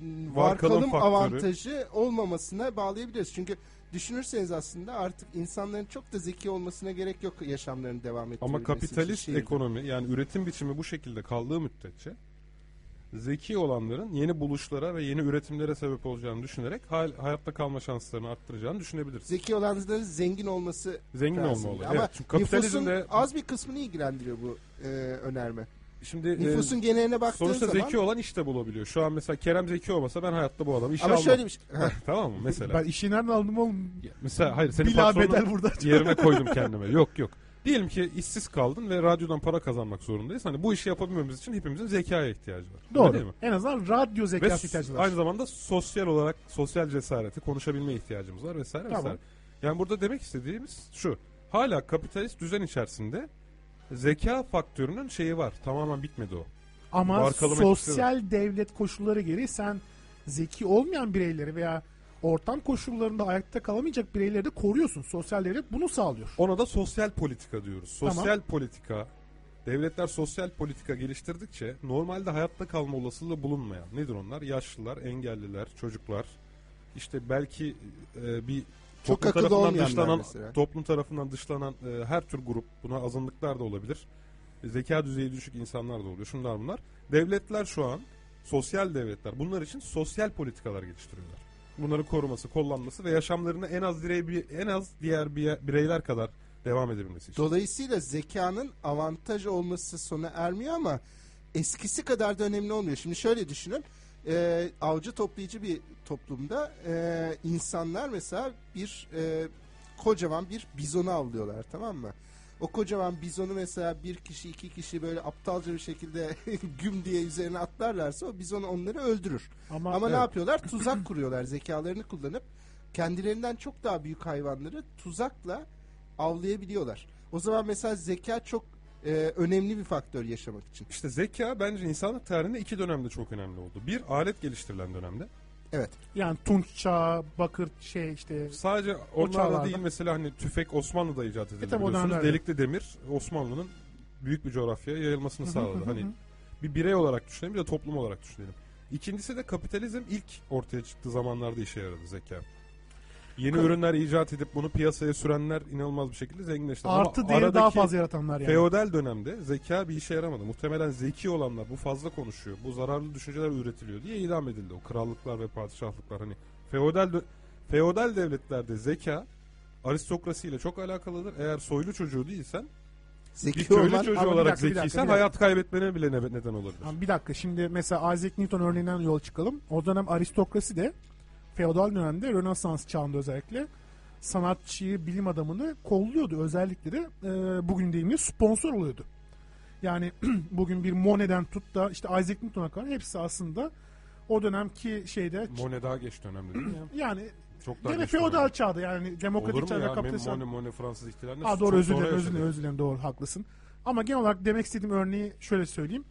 S3: m,
S2: Var
S3: var
S2: kalım
S3: kalım
S2: faktörü.
S3: avantajı olmamasına bağlayabiliriz. Çünkü düşünürseniz aslında artık insanların çok da zeki olmasına gerek yok yaşamlarını devam ettirebilmesi
S2: Ama kapitalist
S3: için şey şehirde.
S2: ekonomi yani üretim biçimi bu şekilde kaldığı müddetçe zeki olanların yeni buluşlara ve yeni üretimlere sebep olacağını düşünerek hal- hayatta kalma şanslarını arttıracağını düşünebiliriz.
S3: Zeki olanların zengin olması
S2: Zengin
S3: lazım.
S2: olma olayı,
S3: Ama
S2: evet. Çünkü kapitalizmde-
S3: nüfusun az bir kısmını ilgilendiriyor bu e, önerme.
S2: Şimdi e,
S3: Nüfusun geneline baktığın
S2: sonuçta
S3: zaman
S2: zeki olan iş de bulabiliyor. Şu an mesela Kerem zeki olmasa ben hayatta bu adamı işe
S3: ama
S2: almam.
S3: şöyle bir şey.
S2: tamam mı mesela?
S4: Ben işi nereden aldım oğlum?
S2: Ya Mesela hayır senin
S4: Bila bedel
S2: patronun
S4: burada.
S2: yerine koydum kendime. Yok yok. Diyelim ki işsiz kaldın ve radyodan para kazanmak zorundayız. Hani bu işi yapabilmemiz için hepimizin zekaya ihtiyacı var. Öyle
S4: Doğru.
S2: değil mi?
S4: En azından radyo
S2: Ve
S4: zekası ihtiyacı var.
S2: aynı zamanda sosyal olarak sosyal cesareti konuşabilme ihtiyacımız var vesaire
S4: Tamam.
S2: vesaire. Yani burada demek istediğimiz şu. Hala kapitalist düzen içerisinde zeka faktörünün şeyi var. Tamamen bitmedi o.
S4: Ama
S2: markalamak
S4: sosyal devlet koşulları gereği sen zeki olmayan bireyleri veya ortam koşullarında ayakta kalamayacak bireyleri de koruyorsun. Sosyal devlet bunu sağlıyor.
S2: Ona da sosyal politika diyoruz.
S4: Tamam.
S2: Sosyal politika devletler sosyal politika geliştirdikçe normalde hayatta kalma olasılığı bulunmayan nedir onlar? Yaşlılar, engelliler, çocuklar. İşte belki e, bir
S3: Çok
S2: toplum
S3: akıllı
S2: tarafından
S3: olmayanlar
S2: dışlanan
S3: mesela.
S2: toplum tarafından dışlanan e, her tür grup buna azınlıklar da olabilir. E, Zeka düzeyi düşük insanlar da oluyor. Şunlar bunlar. Devletler şu an sosyal devletler bunlar için sosyal politikalar geliştiriyorlar. Bunları koruması, kollanması ve yaşamlarını en az birey bir- en az diğer bir- bireyler kadar devam edebilmesi için.
S3: Dolayısıyla zekanın avantaj olması sona ermiyor ama eskisi kadar da önemli olmuyor. Şimdi şöyle düşünün. E, avcı toplayıcı bir toplumda e, insanlar mesela bir e, kocaman bir bizonu avlıyorlar tamam mı? O kocaman bizonu mesela bir kişi iki kişi böyle aptalca bir şekilde güm diye üzerine atlarlarsa o bizon onları öldürür.
S4: Ama,
S3: Ama ne yapıyorlar? Tuzak kuruyorlar zekalarını kullanıp kendilerinden çok daha büyük hayvanları tuzakla avlayabiliyorlar. O zaman mesela zeka çok e, önemli bir faktör yaşamak için.
S2: İşte zeka bence insanlık tarihinde iki dönemde çok önemli oldu. Bir alet geliştirilen dönemde.
S3: Evet.
S4: yani Tunç Çağı, Bakır şey işte
S2: Sadece
S4: O çağlarda.
S2: onlarla değil mesela hani tüfek Osmanlı'da icat edildi.
S4: E tabii o
S2: biliyorsunuz.
S4: dönemlerde.
S2: Delikli demir Osmanlı'nın büyük bir coğrafyaya yayılmasını sağladı. Hani bir birey olarak düşünelim bir de toplum olarak düşünelim. İkincisi de kapitalizm ilk ortaya çıktığı zamanlarda işe yaradı zeka. Yeni ürünler icat edip bunu piyasaya sürenler inanılmaz bir şekilde zenginleşti. Ama
S4: artı değeri daha
S2: aradaki-
S4: fazla yaratanlar yani.
S2: Feodal dönemde zeka bir işe yaramadı. Muhtemelen zeki olanlar bu fazla konuşuyor, bu zararlı düşünceler üretiliyor diye idam edildi. O krallıklar ve padişahlıklar hani feodal dö- feodal devletlerde zeka aristokrasiyle çok alakalıdır. Eğer soylu çocuğu değilsen, bir
S3: Zeki
S2: köylü
S3: olan
S2: çocuğu
S4: Ama bir
S2: olarak
S4: dakika, bir dakika,
S2: zekiysen
S4: bir dakika.
S2: hayat kaybetmene bile ne- neden olabilir.
S4: Ama bir dakika şimdi mesela Isaac Newton örneğinden yola çıkalım. O dönem aristokrasi de feodal dönemde Rönesans çağında özellikle sanatçıyı, bilim adamını kolluyordu. Özellikle de e, bugün deyimle sponsor oluyordu. Yani bugün bir Monet'den tut da işte Isaac Newton'a kadar hepsi aslında o dönemki şeyde
S2: Mone daha geç dönemde değil mi?
S4: yani
S2: Çok daha
S4: Hmm. gene
S2: geç
S4: feodal
S2: dönemde.
S4: çağda yani
S2: Olur
S4: demokratik
S2: mu ya?
S4: çağda
S2: Mem-
S4: kapitalist
S2: Mone, Mone Fransız ihtilalinde
S4: Ha
S2: çok
S4: doğru özür
S2: sonra
S4: dilerim özür
S2: yaşadı.
S4: dilerim özür dilerim doğru haklısın. Ama genel olarak demek istediğim örneği şöyle söyleyeyim.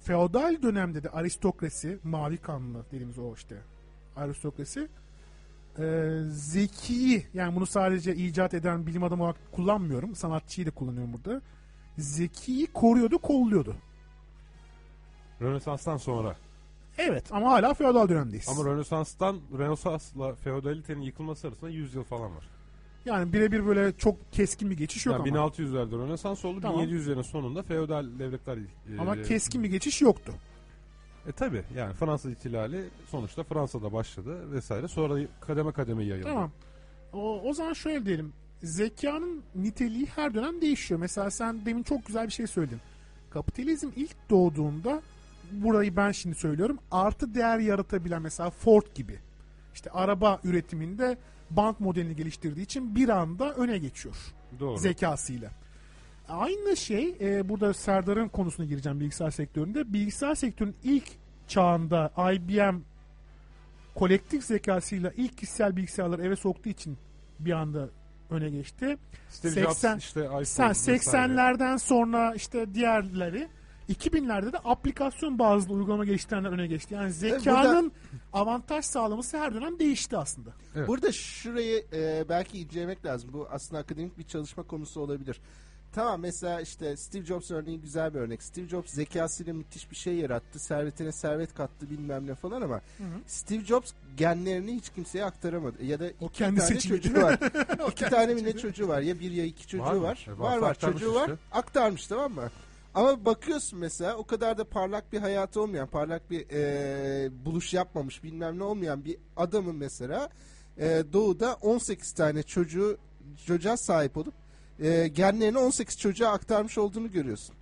S4: Feodal dönemde de aristokrasi, mavi kanlı dediğimiz o işte aristokrasi e, zekiyi yani bunu sadece icat eden bilim adamı olarak kullanmıyorum. Sanatçıyı da kullanıyorum burada. Zekiyi koruyordu, kolluyordu.
S2: Rönesans'tan sonra.
S4: Evet ama hala feodal dönemdeyiz.
S2: Ama Rönesans'tan Rönesans'la feodalitenin yıkılması arasında 100 yıl falan var.
S4: yani birebir böyle çok keskin bir geçiş yok
S2: Yani
S4: ama.
S2: 1600'lerde Rönesans oldu.
S4: Tamam.
S2: 1700'lerin sonunda feodal devletler e,
S4: Ama keskin bir geçiş yoktu.
S2: E tabi yani Fransız ihtilali sonuçta Fransa'da başladı vesaire. Sonra kademe kademe yayıldı.
S4: Tamam. O, o zaman şöyle diyelim. Zekanın niteliği her dönem değişiyor. Mesela sen demin çok güzel bir şey söyledin. Kapitalizm ilk doğduğunda burayı ben şimdi söylüyorum. Artı değer yaratabilen mesela Ford gibi. işte araba üretiminde bank modelini geliştirdiği için bir anda öne geçiyor
S2: Doğru.
S4: zekasıyla. Aynı şey e, burada Serdar'ın konusuna gireceğim bilgisayar sektöründe. Bilgisayar sektörünün ilk çağında IBM kolektif zekasıyla ilk kişisel bilgisayarları eve soktuğu için bir anda öne geçti.
S2: Steve
S4: 80
S2: Jobs işte iPhone
S4: Sen
S2: vesaire.
S4: 80'lerden sonra işte diğerleri 2000'lerde de aplikasyon bazlı uygulama geliştirenler öne geçti. Yani zekanın avantaj sağlaması her dönem değişti aslında.
S2: Evet.
S3: Burada şurayı e, belki incelemek lazım. Bu aslında akademik bir çalışma konusu olabilir. Tamam mesela işte Steve Jobs örneği güzel bir örnek. Steve Jobs zekasıyla müthiş bir şey yarattı. Servetine servet kattı bilmem ne falan ama Steve Jobs genlerini hiç kimseye aktaramadı. Ya da
S4: O
S3: iki
S4: kendi
S3: tane
S4: seçimi.
S3: çocuğu var. iki tane mi ne çocuğu var? Ya bir ya iki çocuğu
S2: Var
S3: var.
S2: mı?
S3: Var
S2: E, varsa
S3: var,
S2: aktarmış
S3: çocuğu var.
S2: işte.
S3: Aktarmış tamam mı? Ama bakıyorsun mesela o kadar da parlak bir hayatı olmayan, parlak bir e, buluş yapmamış bilmem ne olmayan bir adamın mesela e, doğuda 18 tane çocuğu çocuğa sahip olup e, genlerini 18 çocuğa aktarmış olduğunu görüyorsun.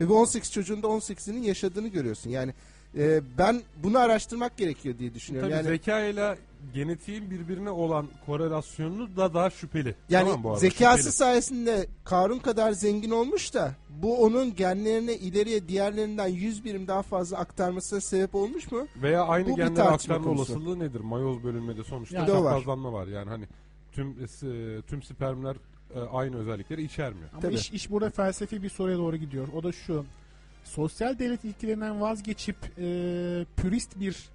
S3: Ve bu 18 çocuğun da 18'inin yaşadığını görüyorsun. Yani e, ben bunu araştırmak gerekiyor diye
S2: Tabii
S3: düşünüyorum. yani
S2: zekayla genetiğin birbirine olan korelasyonu da daha şüpheli.
S3: Yani
S2: Tamam bu arada,
S3: zekası
S2: şüpheli.
S3: sayesinde Karun kadar zengin olmuş da bu onun genlerine ileriye diğerlerinden 100 birim daha fazla aktarmasına sebep olmuş mu?
S2: Veya
S3: Bu
S2: aynı
S3: bir
S2: genler
S3: tartışma
S2: aktarma
S3: konusu.
S2: olasılığı nedir? Mayoz bölünmede sonuçta
S4: Yani-
S2: çok
S3: Bir de o var.
S2: fazlanma var. Yani hani tüm e, tüm spermler e, aynı özellikleri içermiyor.
S4: Ama
S3: Tabii.
S4: iş, iş burada felsefi bir soruya doğru gidiyor. O da şu. Sosyal devlet ilkelerinden vazgeçip e, pürist bir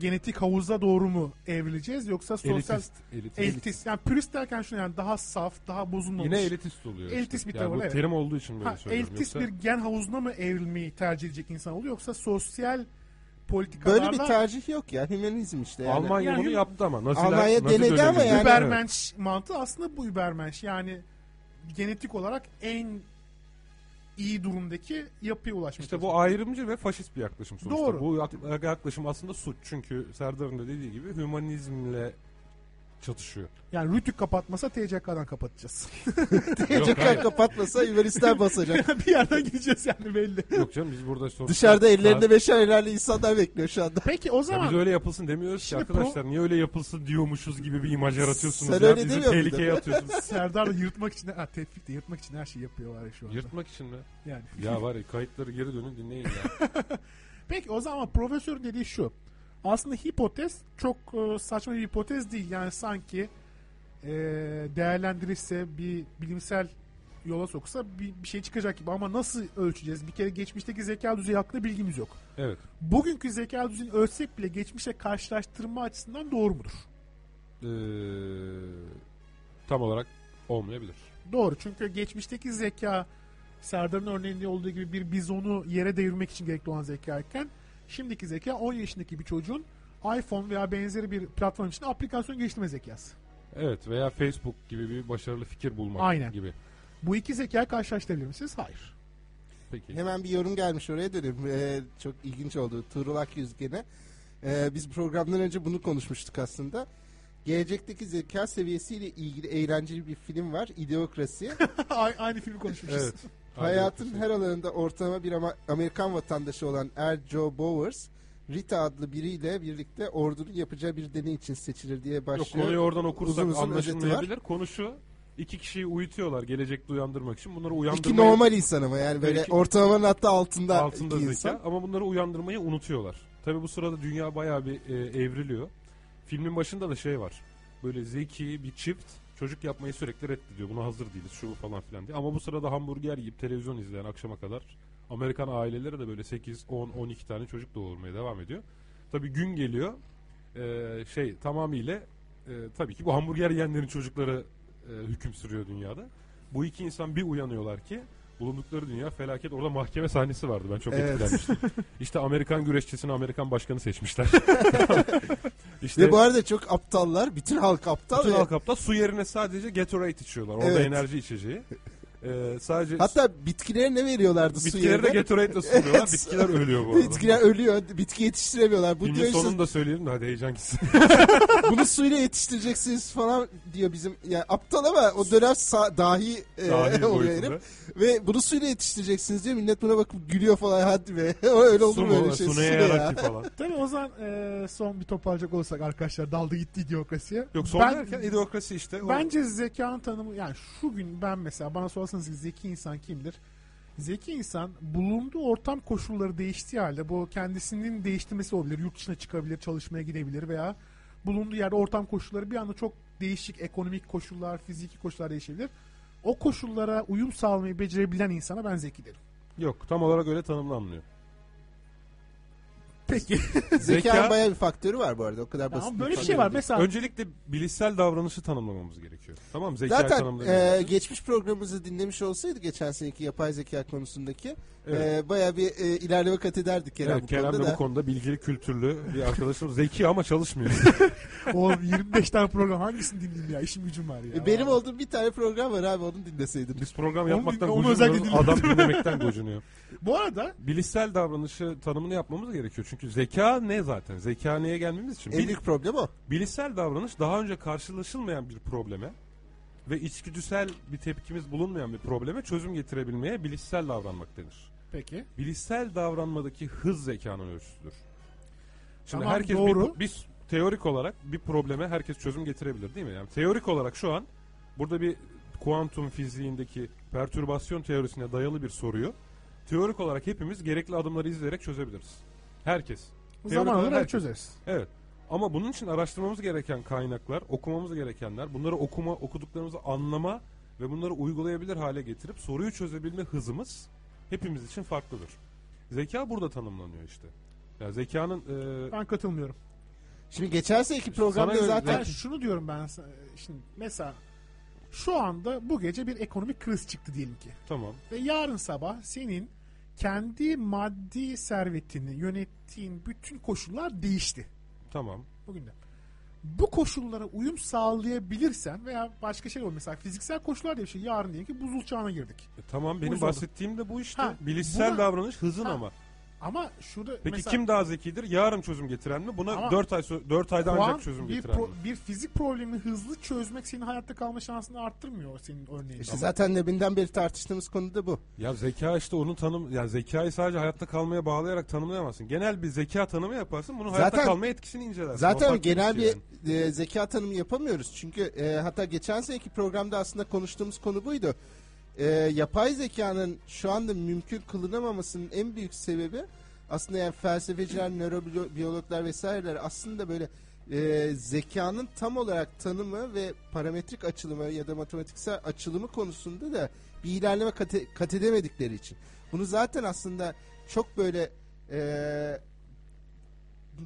S4: genetik havuza doğru mu evrileceğiz yoksa sosyal elitist,
S2: Elitist, elitist.
S4: yani pürist derken şunu yani daha saf, daha bozulmamış.
S2: Yine elitist oluyor.
S4: Elitist
S2: işte.
S4: bir
S2: yani
S4: tavır,
S2: bu
S4: evet.
S2: terim olduğu için böyle
S4: Ha,
S2: söylüyorum.
S4: elitist
S2: Yoksa-
S4: bir gen havuzuna mı evrilmeyi tercih edecek insan oluyor yoksa sosyal politikalarla
S3: Böyle bir tercih yok ya. Hümanizm işte yani.
S2: Almanya
S4: Yani-
S2: bunu yaptı ama. Naziler, Nazi
S3: Almanya denedi ama
S2: döneminde-
S3: yani-
S4: übermensch mantığı aslında bu übermensch. Yani genetik olarak en iyi durumdaki yapıya ulaşmak.
S2: İşte bu ayrımcı ve faşist bir yaklaşım sonuçta.
S4: Doğru.
S2: Bu yak- yaklaşım aslında suç. Çünkü Serdar'ın da dediği gibi hümanizmle çatışıyor.
S4: Yani Rütük kapatmasa TCK'dan kapatacağız.
S2: yok,
S3: Tekrar
S2: hayır.
S3: kapatmasa üniversiteler basacak.
S4: bir yerden gideceğiz yani belli.
S2: yok canım biz burada sonuçta...
S3: Dışarıda ellerinde
S2: Ya
S3: beşer ilerli insanlar bekliyor şu anda.
S4: Peki o zaman
S2: biz öyle yapılsın demiyoruz ki
S4: Şimdi
S2: arkadaşlar. Niye öyle yapılsın diyormuşuz gibi bir imaj yaratıyorsunuz.
S3: Sen
S2: ya.
S3: öyle
S2: Bizi
S3: demiyor muydun?
S2: tehlikeye atıyorsunuz.
S4: Serdar da yırtmak için ha, tevfik de yırtmak için her şeyi yapıyor var ya şu anda.
S2: Yırtmak için mi?
S4: Yani.
S2: Ya var ya kayıtları geri dönün dinleyin ya.
S4: Peki o zaman profesör dediği şu. Aslında hipotez çok e, saçma bir hipotez değil. Yani sanki e, değerlendirirse bir bilimsel yola soksa bir, bir şey çıkacak gibi ama nasıl ölçeceğiz? Bir kere geçmişteki zeka düzeyi hakkında bilgimiz yok.
S2: Evet.
S4: Bugünkü zeka düzeyini ölçsek bile geçmişle karşılaştırma açısından doğru mudur?
S2: Ee, tam olarak olmayabilir.
S4: Doğru çünkü geçmişteki zeka Serdar'ın örneğinde olduğu gibi bir bizonu yere devirmek için gerekli olan zekayken şimdiki zeka 10 yaşındaki bir çocuğun iPhone veya benzeri bir platform için aplikasyon geliştirme zekası.
S2: Evet veya Facebook gibi bir başarılı fikir bulmak
S4: Aynen.
S2: gibi.
S4: Bu iki zekayı karşılaştırabilir misiniz? Hayır.
S2: Peki.
S3: Hemen bir yorum gelmiş oraya döneyim. Ee, çok ilginç oldu. Tuğrul Akyüz gene. Ee, biz programdan önce bunu konuşmuştuk aslında. Gelecekteki zeka seviyesiyle ilgili eğlenceli bir film var. İdeokrasi.
S4: A- Aynı filmi konuşmuşuz.
S2: Evet.
S3: Hayatın her alanında ortalama bir ama Amerikan vatandaşı olan Er Joe Bowers, Rita adlı biriyle birlikte ordunun yapacağı bir deney için seçilir diye
S2: Yok
S3: başlıyor.
S2: konuyu oradan okursak
S3: Uzun uzun özeti
S2: anlaşılmayabilir. Konu şu. iki kişiyi uyutuyorlar gelecekte uyandırmak için. Bunları uyandırmayı
S3: İki normal insan ama yani böyle
S2: İki-
S3: ortalamanın hatta altında,
S2: altında
S3: iki
S2: zeka
S3: insan.
S2: ama bunları uyandırmayı unutuyorlar. Tabi bu sırada dünya bayağı bir e, evriliyor. Filmin başında da şey var. Böyle zeki bir çift çocuk yapmayı sürekli reddediyor. Buna hazır değiliz şu bu falan filan diye. Ama bu sırada hamburger yiyip televizyon izleyen akşama kadar Amerikan aileleri de böyle 8, 10, 12 tane çocuk doğurmaya devam ediyor. Tabi gün geliyor. e, şey tamamıyla e, tabii ki bu hamburger yiyenlerin çocukları e, hüküm sürüyor dünyada. Bu iki insan bir uyanıyorlar ki bulundukları dünya felaket. Orada mahkeme sahnesi vardı. Ben çok
S3: Evet.
S2: etkilenmiştim. işte Amerikan güreşçisini Amerikan başkanı seçmişler. işte
S3: Ve bu arada çok aptallar. Bütün halk aptal.
S2: bütün
S3: ve-
S2: halk aptal. su yerine sadece Gatorade içiyorlar. Orada
S3: Evet.
S2: enerji içeceği. E, sadece
S3: Hatta bitkilere ne veriyorlardı su
S2: bitkileri de
S3: yerine?
S2: Gatorade ile suluyorlar. Bitkiler ölüyor bu arada.
S3: Bitkiler ölüyor. Bitki yetiştiremiyorlar. Bu
S2: Filmin
S3: diyor işte,
S2: sonunu da söyleyelim de hadi heyecan gitsin.
S3: bunu suyla yetiştireceksiniz falan diyor bizim. Yani aptal ama o dönem sa- dahi, e,
S2: Dahil
S3: oluyor herif.
S2: boyutunda.
S3: Ve bunu suyla yetiştireceksiniz diyor. Millet buna bakıp gülüyor falan. Hadi be. Öyle olur
S2: Su
S3: mu öyle
S2: mu?
S3: şey?
S2: Su
S3: Su ne
S2: neye
S3: ya?
S2: yarar ki falan.
S4: Tabii o zaman e, son bir toparlayacak olursak arkadaşlar daldı gitti ideokrasiye.
S2: Yok son
S4: Ben-
S2: derken ideokrasi işte. O-
S4: Bence zekanın tanımı yani şu gün ben mesela bana sorarsanız ki zeki insan kimdir? Zeki insan bulunduğu ortam koşulları değiştiği halde bu kendisinin değiştirmesi olabilir. Yurt dışına çıkabilir, çalışmaya gidebilir veya bulunduğu yerde ortam koşulları bir anda çok değişik ekonomik koşullar, fiziki koşullar değişebilir. O koşullara uyum sağlamayı becerebilen insana ben zeki derim.
S2: Yok tam olarak öyle tanımlanmıyor.
S4: Peki.
S3: Zekanın
S2: Zeka-
S3: bayağı bir faktörü var bu arada. O kadar basit.
S4: Ama böyle bir şey var. Mesela
S2: Öncelikle bilişsel davranışı tanımlamamız gerekiyor. Tamam mı? Zekayı
S3: Zaten
S2: tanımlayamıyoruz.
S3: e, geçmiş programımızı dinlemiş olsaydı geçen seneki yapay zeka konusundaki
S2: Evet.
S3: e, bayağı bir e, ilerleme kat ederdik Kerem
S2: Evet,
S3: bu
S2: Kerem
S3: konuda
S2: de
S3: da.
S2: bu konuda bilgili, kültürlü bir arkadaşımız. Zeki ama çalışmıyor.
S4: o 25 tane program hangisini dinleyeyim ya? İşim gücüm var ya.
S3: E, Benim olduğum bir tane program var abi onu dinleseydin.
S2: Biz program
S4: Onu
S2: yapmaktan
S4: dinle- onu özellikle
S2: gocunuyoruz. Adam dinlemekten gocunuyor.
S4: Bu arada
S2: Bilişsel davranışı tanımını yapmamız gerekiyor. Çünkü zeka ne zaten? Zeka neye gelmemiz için?
S3: En
S2: Bil-
S3: büyük problem o.
S2: bilişsel davranış daha önce karşılaşılmayan bir probleme ve içgüdüsel bir tepkimiz bulunmayan bir probleme çözüm getirebilmeye bilişsel davranmak denir.
S4: peki.
S2: bilişsel davranmadaki hız zekanın ölçüsüdür. Şimdi
S4: Tamam,
S2: herkes
S4: doğru.
S2: Bir, bir teorik olarak bir probleme herkes çözüm getirebilir değil mi? Yani teorik olarak şu an burada bir kuantum fiziğindeki pertürbasyon teorisine dayalı bir soruyu teorik olarak hepimiz gerekli adımları izleyerek çözebiliriz. Herkes. Teorik
S4: Zaman
S2: olarak
S4: alır
S2: herkes.
S4: çözeriz.
S2: Evet. Ama bunun için araştırmamız gereken kaynaklar, okumamız gerekenler, bunları okuma, okuduklarımızı anlama ve bunları uygulayabilir hale getirip soruyu çözebilme hızımız hepimiz için farklıdır. Zeka burada tanımlanıyor işte. Ya zekanın e,
S4: Ben katılmıyorum.
S3: Şimdi geçen seneki
S2: Sana
S3: programda
S2: göre
S4: Ben
S3: zaten
S4: şunu diyorum ben sana- şimdi mesela şu anda bu gece bir ekonomik kriz çıktı diyelim ki.
S2: tamam.
S4: Ve yarın sabah senin kendi maddi servetini yönettiğin bütün koşullar değişti.
S2: Tamam.
S4: Bugün de. Bu koşullara uyum sağlayabilirsen veya başka şey olur mesela fiziksel koşullar diye bir şey yarın diyelim ki buzul çağına girdik.
S2: E, tamam benim
S4: Uyuz oldum.
S2: bahsettiğim de bu işte.
S4: Ha,
S2: Bilişsel
S4: buna-
S2: davranış hızın
S4: Ha,
S2: ama.
S4: Ama şurada
S2: Peki
S4: mesela
S2: kim daha zekidir? Yarın çözüm getiren mi? Buna
S4: Ama
S2: 4 ay so- 4 ayda
S4: Kuant
S2: ancak çözüm
S4: bir,
S2: getiren
S4: pro-
S2: mi?
S4: bir fizik problemini hızlı çözmek senin hayatta kalma şansını arttırmıyor senin örneğin.
S3: işte zaten deminden beri tartıştığımız konu da bu.
S2: Ya zeka işte onun tanım ya zekayı sadece hayatta kalmaya bağlayarak tanımlayamazsın. Genel bir zeka tanımı yaparsın. Bunun hayatta
S3: Zaten-
S2: kalma etkisini incelersin. O
S3: Zaten
S2: farklı
S3: genel
S2: şey
S3: bir
S2: yani.
S3: e, zeka tanımı yapamıyoruz. Çünkü e, hatta geçen seneki programda aslında konuştuğumuz konu buydu. E, yapay zekanın şu anda mümkün kılınamamasının en büyük sebebi aslında yani felsefeciler, nörobiyologlar vesaireler aslında böyle e, zekanın tam olarak tanımı ve parametrik açılımı ya da matematiksel açılımı konusunda da bir ilerleme kat, kat edemedikleri için. Bunu zaten aslında çok böyle e,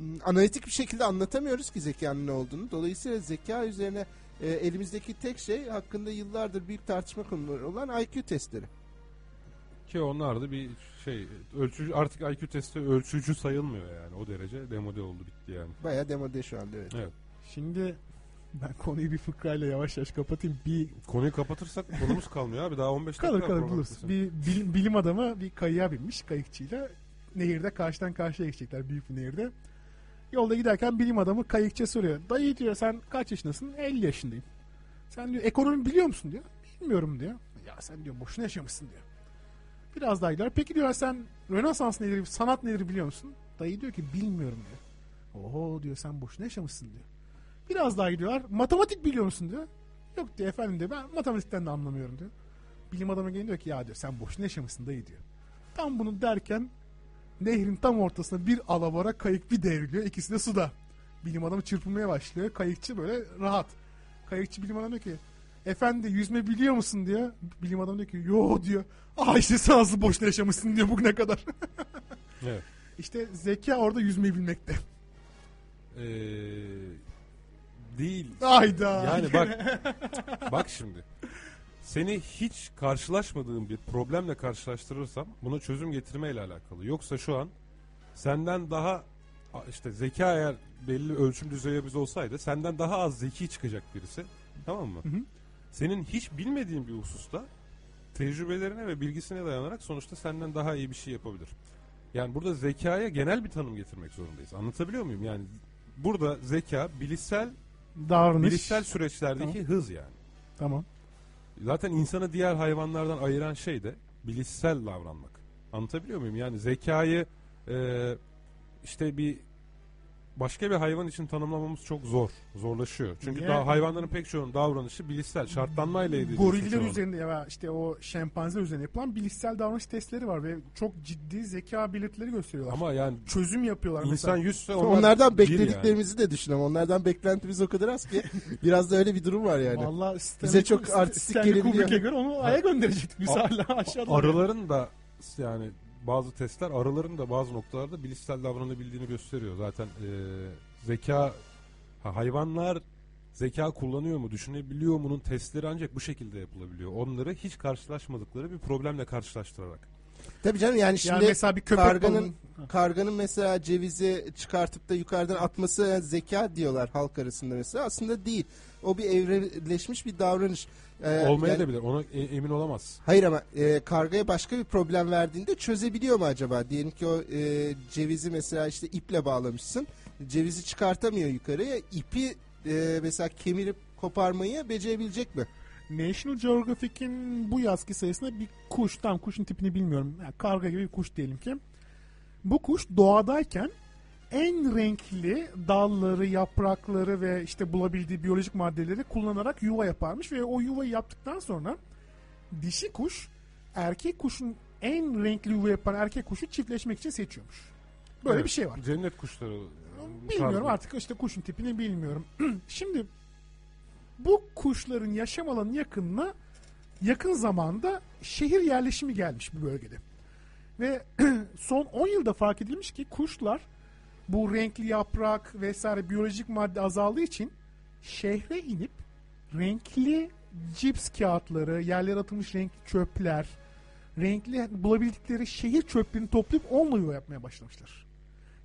S3: m, analitik bir şekilde anlatamıyoruz ki zekanın ne olduğunu. Dolayısıyla zeka üzerine e, elimizdeki tek şey hakkında yıllardır büyük tartışma konuları olan IQ testleri.
S2: ki onlar da bir şey ölçücü artık IQ testi ölçücü sayılmıyor yani. O derece demode oldu bitti yani.
S3: Bayağı demode şu anda evet.
S2: Evet.
S4: Şimdi ben konuyu bir fıkrayla yavaş yavaş kapatayım. Bir
S2: Konuyu kapatırsak konumuz kalmıyor abi. Daha 15 dakika
S4: kalır
S2: var
S4: kalır
S2: program
S4: buluruz.
S2: bitmesine.
S4: Bir bilim, bilim adamı bir kayığa binmiş kayıkçıyla. Nehirde karşıdan karşıya geçecekler büyük bir nehirde. Yolda giderken bilim adamı kayıkçı soruyor. Dayı diyor sen kaç yaşındasın? 50 yaşındayım. Sen diyor ekonomi biliyor musun diyor. Bilmiyorum diyor. Ya sen diyor boşuna yaşamışsın diyor. Biraz daha iler. Peki diyor sen Rönesans nedir, sanat nedir biliyor musun? Dayı diyor ki bilmiyorum diyor. Oho diyor sen boşuna yaşamışsın diyor. Biraz daha gidiyorlar. Matematik biliyor musun diyor. Yok diyor efendim diyor ben matematikten de anlamıyorum diyor. Bilim adamı geliyor diyor ki ya diyor sen boşuna yaşamışsın dayı diyor. Tam bunu derken nehrin tam ortasına bir alabora kayık bir devriliyor. İkisi de suda. Bilim adamı çırpınmaya başlıyor. Kayıkçı böyle rahat. Kayıkçı bilim adamı diyor ki efendi yüzme biliyor musun diyor. Bilim adamı diyor ki yo diyor. Aa işte sen nasıl boşuna yaşamışsın diyor bugüne kadar.
S2: Evet.
S4: işte zeka orada yüzmeyi bilmekte.
S2: Ee, değil.
S4: Hayda.
S2: Yani bak bak şimdi. Seni hiç karşılaşmadığın bir problemle karşılaştırırsam buna çözüm getirmeyle alakalı. Yoksa şu an senden daha a- işte zeka eğer belli ölçüm düzeyi biz olsaydı senden daha az zeki çıkacak birisi. Tamam mı? Senin hiç bilmediğin bir hususta tecrübelerine ve bilgisine dayanarak sonuçta senden daha iyi bir şey yapabilir. Yani burada zekaya genel bir tanım getirmek zorundayız. Anlatabiliyor muyum? Yani burada zeka bilişsel
S4: Davranış.
S2: Bilişsel süreçlerdeki hız yani.
S4: Tamam.
S2: Zaten insanı diğer hayvanlardan ayıran şey de bilişsel davranmak. Anlatabiliyor muyum? Yani zekayı e, işte bir başka bir hayvan için tanımlamamız çok zor. Zorlaşıyor. Çünkü
S4: Niye?
S2: daha hayvanların pek çoğunun davranışı bilişsel. Şartlanmayla ilgili.
S4: Goriller üzerinde ya işte o şempanze üzerine yapılan bilişsel davranış testleri var ve çok ciddi zeka belirtileri gösteriyorlar.
S2: Ama yani
S4: çözüm yapıyorlar
S2: insan
S4: mesela.
S2: yüzse onlar
S3: Onlardan
S2: bir yani.
S3: beklediklerimizi de düşünelim. Onlardan beklentimiz o kadar az ki biraz da öyle bir durum var yani.
S4: Vallahi
S3: Bize
S4: Stanley-
S3: çok artistik
S4: Stanley
S3: gelebiliyor.
S4: Kubrick'e göre onu aya gönderecektik biz
S2: A-
S4: hala aşağıda.
S2: Arıların da yani bazı testler arıların da bazı noktalarda bilişsel davranabildiğini gösteriyor. Zaten eee, zeka ha, hayvanlar zeka kullanıyor mu, düşünebiliyor mu'nun testleri ancak bu şekilde yapılabiliyor. Onları hiç karşılaşmadıkları bir problemle karşılaştırarak.
S3: Tabii canım yani
S4: yani
S3: şimdi
S4: mesela bir köpek
S3: karganın
S4: balığının-
S3: karganın mesela cevizi çıkartıp da yukarıdan atması yani zeka diyorlar halk arasında mesela. Aslında değil. O bir evrimleşmiş bir davranış. Ee,
S2: Olmaya
S3: yani-
S2: da bilir. Ona e- emin olamaz.
S3: Hayır ama e, kargaya başka bir problem verdiğinde çözebiliyor mu acaba? Diyelim ki o e, cevizi mesela işte iple bağlamışsın. Cevizi çıkartamıyor yukarıya. İpi e, mesela kemirip koparmayı becerebilecek mi?
S4: National Geographic'in bu yazki sayısında bir kuş tam kuşun tipini bilmiyorum. Yani karga gibi bir kuş diyelim ki. Bu kuş doğadayken en renkli dalları, yaprakları ve işte bulabildiği biyolojik maddeleri kullanarak yuva yaparmış ve o yuvayı yaptıktan sonra dişi kuş erkek kuşun en renkli yuva yapan erkek kuşu çiftleşmek için seçiyormuş. Böyle
S2: Evet,
S4: bir şey var.
S2: Cennet kuşları.
S4: Bilmiyorum artık işte kuşun tipini bilmiyorum. Şimdi bu kuşların yaşam alanı yakınına yakın zamanda şehir yerleşimi gelmiş bir bölgede. Ve son 10 yılda fark edilmiş ki kuşlar bu renkli yaprak vesaire biyolojik madde azaldığı için şehre inip renkli cips kağıtları, yerlere atılmış renkli çöpler, renkli bulabildikleri şehir çöplerini toplayıp onunla yuva yapmaya başlamışlar.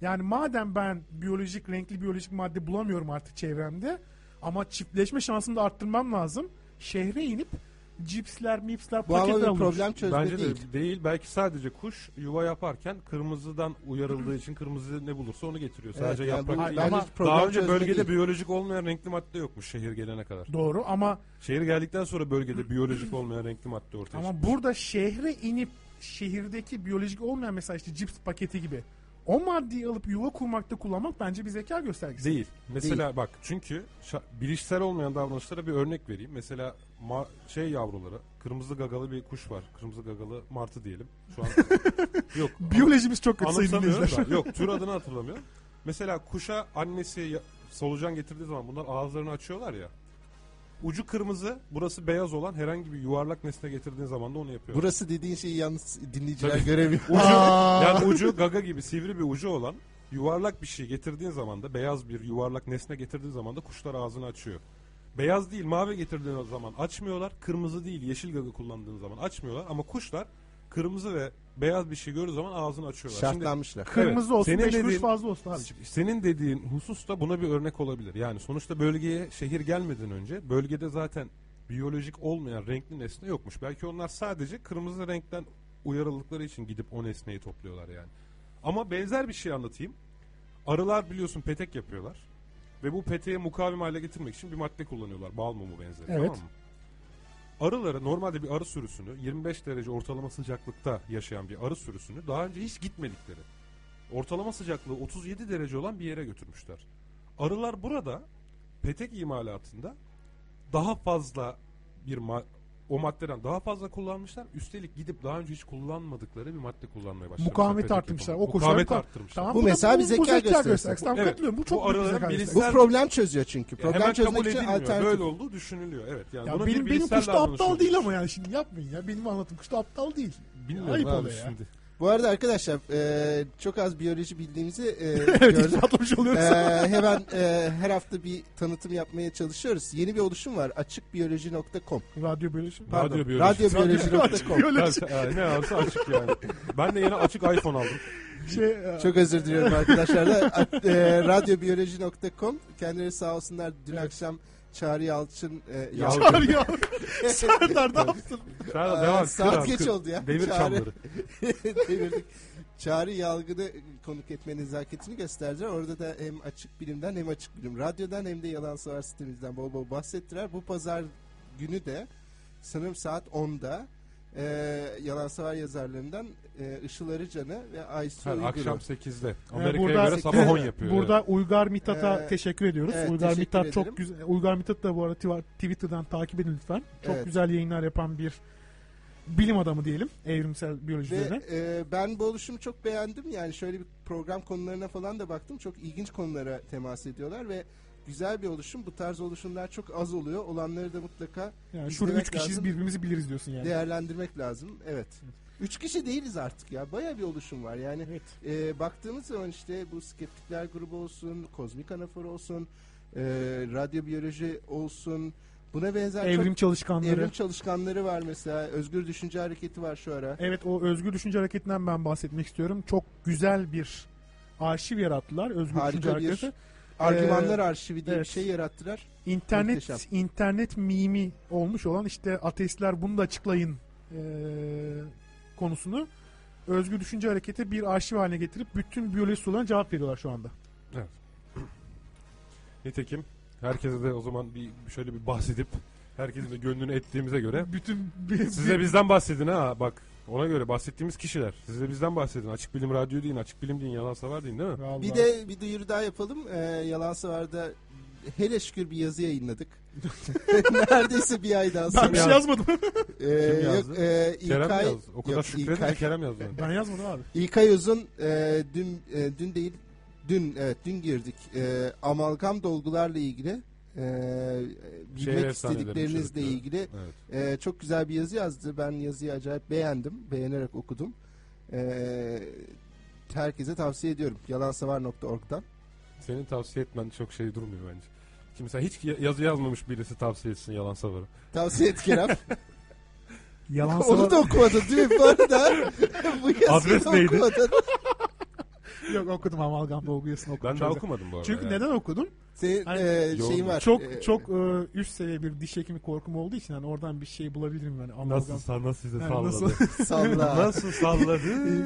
S4: Yani madem ben biyolojik renkli biyolojik madde bulamıyorum artık çevremde ama çiftleşme şansını da arttırmam lazım. Şehre inip cipsler, mipsler,
S3: Bu ama
S4: paketler
S3: bir
S4: alınmış.
S3: problem çözme
S2: Bence
S3: değil.
S2: de değil. Belki sadece kuş yuva yaparken kırmızıdan uyarıldığı için kırmızı ne bulursa onu getiriyor. Sadece
S3: yani bu-
S2: yaprak değil.
S3: bence
S2: Ama
S3: problem
S2: daha önce
S3: çözme
S2: bölgede
S3: değil.
S2: biyolojik olmayan renkli madde yokmuş şehir gelene kadar.
S4: Doğru ama
S2: Şehir geldikten sonra bölgede biyolojik olmayan renkli madde ortaya çıkıyor.
S4: ama burada şehre inip şehirdeki biyolojik olmayan mesela işte cips paketi gibi o maddeyi alıp yuva kurmakta kullanmak bence bir zeka göstergesi.
S2: Değil. Mesela bak çünkü şa- bilişsel olmayan davranışlara bir örnek vereyim. Mesela ma- şey yavruları kırmızı gagalı bir kuş var. Kırmızı gagalı martı diyelim. Şu an yok.
S4: Biyolojimiz çok kötü sayın
S2: Anımsamıyorum
S4: dinleyiciler.
S2: da. Yok tür adını hatırlamıyorum. Mesela kuşa annesi ya- solucan getirdiği zaman bunlar ağızlarını açıyorlar ya. Ucu kırmızı, burası beyaz olan herhangi bir yuvarlak nesne getirdiğin zaman da onu yapıyor.
S3: Burası dediğin şeyi yalnız dinleyiciler göremiyor.
S2: Yani ucu gaga gibi sivri bir ucu olan yuvarlak bir şey getirdiğin zaman da beyaz bir yuvarlak nesne getirdiğin zaman da kuşlar ağzını açıyor. Beyaz değil mavi getirdiğin zaman açmıyorlar. Kırmızı değil yeşil gaga kullandığın zaman açmıyorlar. Ama kuşlar kırmızı ve beyaz bir şey gördüğü zaman ağzını açıyorlar. Şimdi
S3: Şartlanmışlar.
S4: Kırmızı
S2: Evet,
S4: olsun,
S2: senin
S4: beş kuruş
S2: dediğin-
S4: fazla olsun abi.
S2: senin dediğin husus da buna bir örnek olabilir. Yani sonuçta bölgeye şehir gelmeden önce bölgede zaten biyolojik olmayan renkli nesne yokmuş. Belki onlar sadece kırmızı renkten uyarıldıkları için gidip o nesneyi topluyorlar yani. Ama benzer bir şey anlatayım. Arılar biliyorsun petek yapıyorlar. Ve bu peteğe mukavim hale getirmek için bir madde kullanıyorlar. Bal mumu benzeri.
S4: Evet.
S2: Tamam mı? Arıları normalde bir arı sürüsünü 25 derece ortalama sıcaklıkta yaşayan bir arı sürüsünü daha önce hiç gitmedikleri ortalama sıcaklığı 37 derece olan bir yere götürmüşler. Arılar burada petek imalatında daha fazla bir ma- o maddeden daha fazla kullanmışlar. Üstelik gidip daha önce hiç kullanmadıkları bir madde kullanmaya başlamışlar.
S4: Mukavemeti
S2: Petek
S4: arttırmışlar.
S2: yapımı.
S4: O koşar.
S2: Mukavemeti arttırmışlar.
S4: Tamam,
S3: Bu
S4: da-
S3: mesela bir zeka göstergesi.
S4: Tamam
S2: Evet.
S4: katılıyorum. Bu
S2: Bu
S4: çok büyük bir
S2: araların
S4: zeka
S2: bilişsel-
S3: Bu
S4: göstergesi.
S3: problem çözüyor çünkü.
S2: Ya
S3: Problem
S2: hemen kabul
S3: çözmek için
S2: edilmiyor.
S3: alternatif.
S2: Böyle olduğu düşünülüyor. Evet. Yani
S4: Ya
S2: buna
S4: benim,
S2: bir
S4: benim
S2: bilişsel
S4: kuş da aptal
S2: davranış
S4: değil
S2: olmuş.
S4: ama yani şimdi yapmayın ya. Benim anlatım kuş da aptal değil.
S2: Bilmiyorum
S4: Ayıp
S2: abi
S4: oluyor ya.
S2: şimdi.
S3: Bu arada arkadaşlar e, çok az biyoloji bildiğimizi e,
S4: Evet
S3: gördük.
S4: atlamış
S3: E,
S4: oluyoruz.
S3: hemen e, her hafta bir tanıtım yapmaya çalışıyoruz. Yeni bir oluşum var. Açıkbiyoloji.com
S4: Radyo biyoloji.
S3: Pardon.
S2: Radyobiyoloji.
S3: Radyobiyoloji.com
S4: Biyoloji.
S2: Ha, ne varsa açık yani. Ben de yeni açık iPhone aldım.
S4: şey, e,
S3: Çok özür diliyorum arkadaşlar da. At- e, radyobiyoloji.com Kendileri sağ olsunlar dün akşam Çağrı Yalçın e, Yalçın.
S4: Çağır ya. Serdar ne yapsın?
S2: Sen
S3: Aa,
S2: de devam.
S3: saat
S2: Kır abi,
S3: geç
S2: kır.
S3: oldu ya.
S2: Devir
S3: Çare.
S2: çamları.
S3: devirdik. Çağrı Yalgın'ı konuk etme nezaketini gösterdiler. Orada da hem açık bilimden hem açık bilim radyodan hem de yalan savar sitemizden bol bol bahsettiler. Bu pazar günü de sanırım saat 10'da e, yalan savar yazarlarından e, Işıl Arıcan'ı ve Aysu
S2: Ha,
S3: Uygur'u.
S2: akşam 8'de.
S4: Yani
S2: Amerika'ya
S4: Ee, burada-
S2: göre sabah 10 yapıyor.
S4: Burada Uygar Mithat'a
S3: Ee,
S4: teşekkür ediyoruz.
S3: evet,
S4: Uygar
S3: teşekkür
S4: Mithat
S3: ederim.
S4: çok güzel. Uygar Mithat da bu arada Twitter- Twitter'dan takip edin lütfen. Çok
S3: Evet.
S4: güzel yayınlar yapan bir bilim adamı diyelim evrimsel biyoloji üzerine.
S3: Ve e, ben bu oluşumu çok beğendim. Yani şöyle bir program konularına falan da baktım. Çok ilginç konulara temas ediyorlar ve güzel bir oluşum. Bu tarz oluşumlar çok az oluyor. Olanları da mutlaka
S4: Yani
S3: biz
S4: şurada
S3: demek
S4: üç kişiyiz
S3: lazım.
S4: birbirimizi biliriz diyorsun yani.
S3: değerlendirmek lazım. Evet. Üç kişi değiliz artık ya. Baya bir oluşum var. Yani
S4: Evet.
S3: e, baktığımız zaman işte bu skeptikler grubu olsun, kozmik anafor olsun, e, radyobiyoloji olsun. Buna benzer
S4: Evrim
S3: çok
S4: çalışkanları.
S3: evrim çalışkanları var mesela. Özgür düşünce hareketi var şu ara.
S4: Evet o özgür düşünce hareketinden ben bahsetmek istiyorum. Çok güzel bir arşiv yarattılar. Özgür düşünce
S3: Harika bir
S4: hareketi.
S2: E,
S3: argümanlar arşivi diye
S4: evet.
S3: bir şey yarattılar.
S4: İnternet
S3: Muhteşem.
S4: internet mimi olmuş olan işte ateistler bunu da açıklayın eee, konusunu özgür düşünce hareketi bir arşiv haline getirip bütün biyoloji sorularına cevap veriyorlar şu anda.
S2: Nitekim herkese de o zaman bir şöyle bir bahsedip Herkesin de gönlünü ettiğimize göre.
S4: Bütün
S2: Siz de bizden bahsedin ha bak. Ona göre bahsettiğimiz kişiler. Siz de bizden bahsedin. Açık Bilim Radyo deyin, Açık Bilim deyin, yalan savar deyin değil mi?
S4: Vallahi.
S3: Bir de şey bir duyuru daha yapalım. Ee, Yalan Savar'da hele şükür bir yazı yayınladık. Neredeyse bir aydan
S4: ben bir
S3: sonra.
S4: şey yazmadım.
S3: Ee,
S2: Kim yazdı?
S3: yok, ee,
S2: Kerem
S3: İlkay-
S2: yazdı. O kadar
S3: yok,
S2: şükredin
S3: İlkay-
S2: ki Kerem yazdı.
S4: ben yazmadım abi.
S3: İlkay Uzun e, dün e, dün değil dün evet dün girdik E, amalgam dolgularla ilgili e,
S2: Şehir
S3: bilmek
S2: efsaneleri,
S3: istediklerinizle
S2: çocuklar.
S3: ilgili
S2: Evet.
S3: e, çok güzel bir yazı yazdı. Ben yazıyı acayip beğendim. Beğenerek okudum. E, herkese tavsiye ediyorum. Yalansavar.org'dan.
S2: Senin tavsiye etmen çok şey durmuyor bence. Kimse hiç ya- yazı yazmamış birisi tavsiye etsin yalan savarı.
S3: Tavsiye et Kerem.
S4: Yalan
S3: Onu da okumadın değil mi bu arada? bu yazıyı
S2: Adres
S3: da
S2: neydi?
S3: okumadın.
S4: Yok okudum amalgam dolguyasını okudum.
S2: Ben daha
S4: Çok-
S2: okumadım bu arada.
S4: Çünkü
S2: ya.
S4: neden okudum?
S3: Senin
S4: Hani-
S3: e,
S2: Yoğun.
S3: şeyin var.
S4: Çok
S3: E,
S4: çok e, üst seviye bir diş hekimi korkum olduğu için hani oradan bir şey bulabilirim yani amalgam.
S2: Nasıl sa- nasıl size
S4: Yani
S2: salladı?
S4: nasıl?
S2: Nasıl,
S3: salla.
S2: salladı?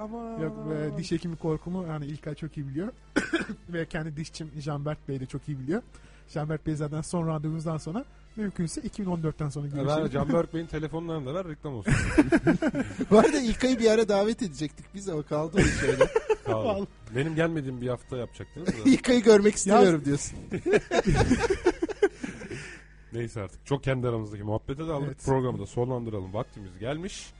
S2: Ama
S4: Yok e, diş hekimi korkumu yani İlkay çok iyi biliyor. Ve kendi dişçim Canberk Bey de çok iyi biliyor. Canberk Bey zaten son randevumuzdan sonra mümkünse 2014'ten sonra
S2: Ver
S4: görüşelim.
S2: Can Bey'in telefonlarını da ver reklam olsun.
S3: Bu arada İlkay'ı bir ara davet edecektik biz ama kaldı o iş öyle.
S2: Sağ olun.
S4: Vallahi.
S2: Benim gelmediğim bir hafta yapacaktınız da.
S3: İlkay'ı görmek istemiyorum diyorsun.
S2: Neyse artık çok kendi aramızdaki muhabbete de aldık.
S4: Evet.
S2: Programı da sonlandıralım. Vaktimiz gelmiş.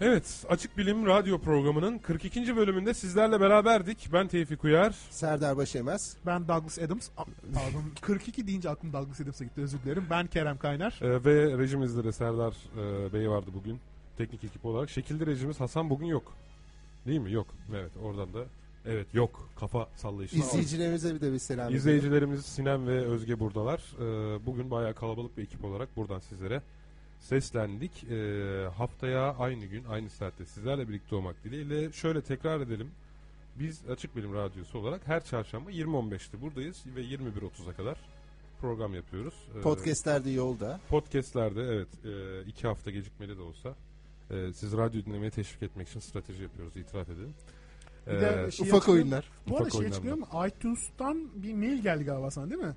S2: Evet Açık Bilim Radyo programının 42. bölümünde sizlerle beraberdik. Ben Tevfik Uyar.
S3: Serdar Başemez.
S4: Ben Douglas Adams. A- Pardon 42 deyince aklım Douglas Adams'a gitti özür dilerim. Ben Kerem Kaynar.
S2: Ee, ve rejimizde de Serdar e, Bey vardı bugün. Teknik ekip olarak. Şekilde rejimiz Hasan bugün yok. Değil mi? Yok. Evet oradan da. Evet yok. Kafa sallayışı.
S3: İzleyicilerimize bir de bir selam. edelim.
S2: İzleyicilerimiz Sinem ve Özge buradalar. Ee, bugün bayağı kalabalık bir ekip olarak buradan sizlere seslendik. Ee, haftaya aynı gün aynı saatte sizlerle birlikte olmak dileğiyle şöyle tekrar edelim. Biz Açık Bilim Radyosu olarak her çarşamba 20.15'te buradayız ve 21.30'a kadar program yapıyoruz. Ee,
S3: Podcastler de yolda.
S2: Podcastlerde evet e, iki hafta gecikmeli de olsa e, siz radyo dinlemeye teşvik etmek için strateji yapıyoruz itiraf edin.
S4: Bir de
S2: Ee,
S4: şey
S3: Ufak
S4: açıklayayım.
S3: oyunlar.
S4: Bu arada
S2: Ufak
S4: şey
S2: oyunlar
S4: açıklıyorum. iTunes'tan bir mail geldi galiba sana değil mi?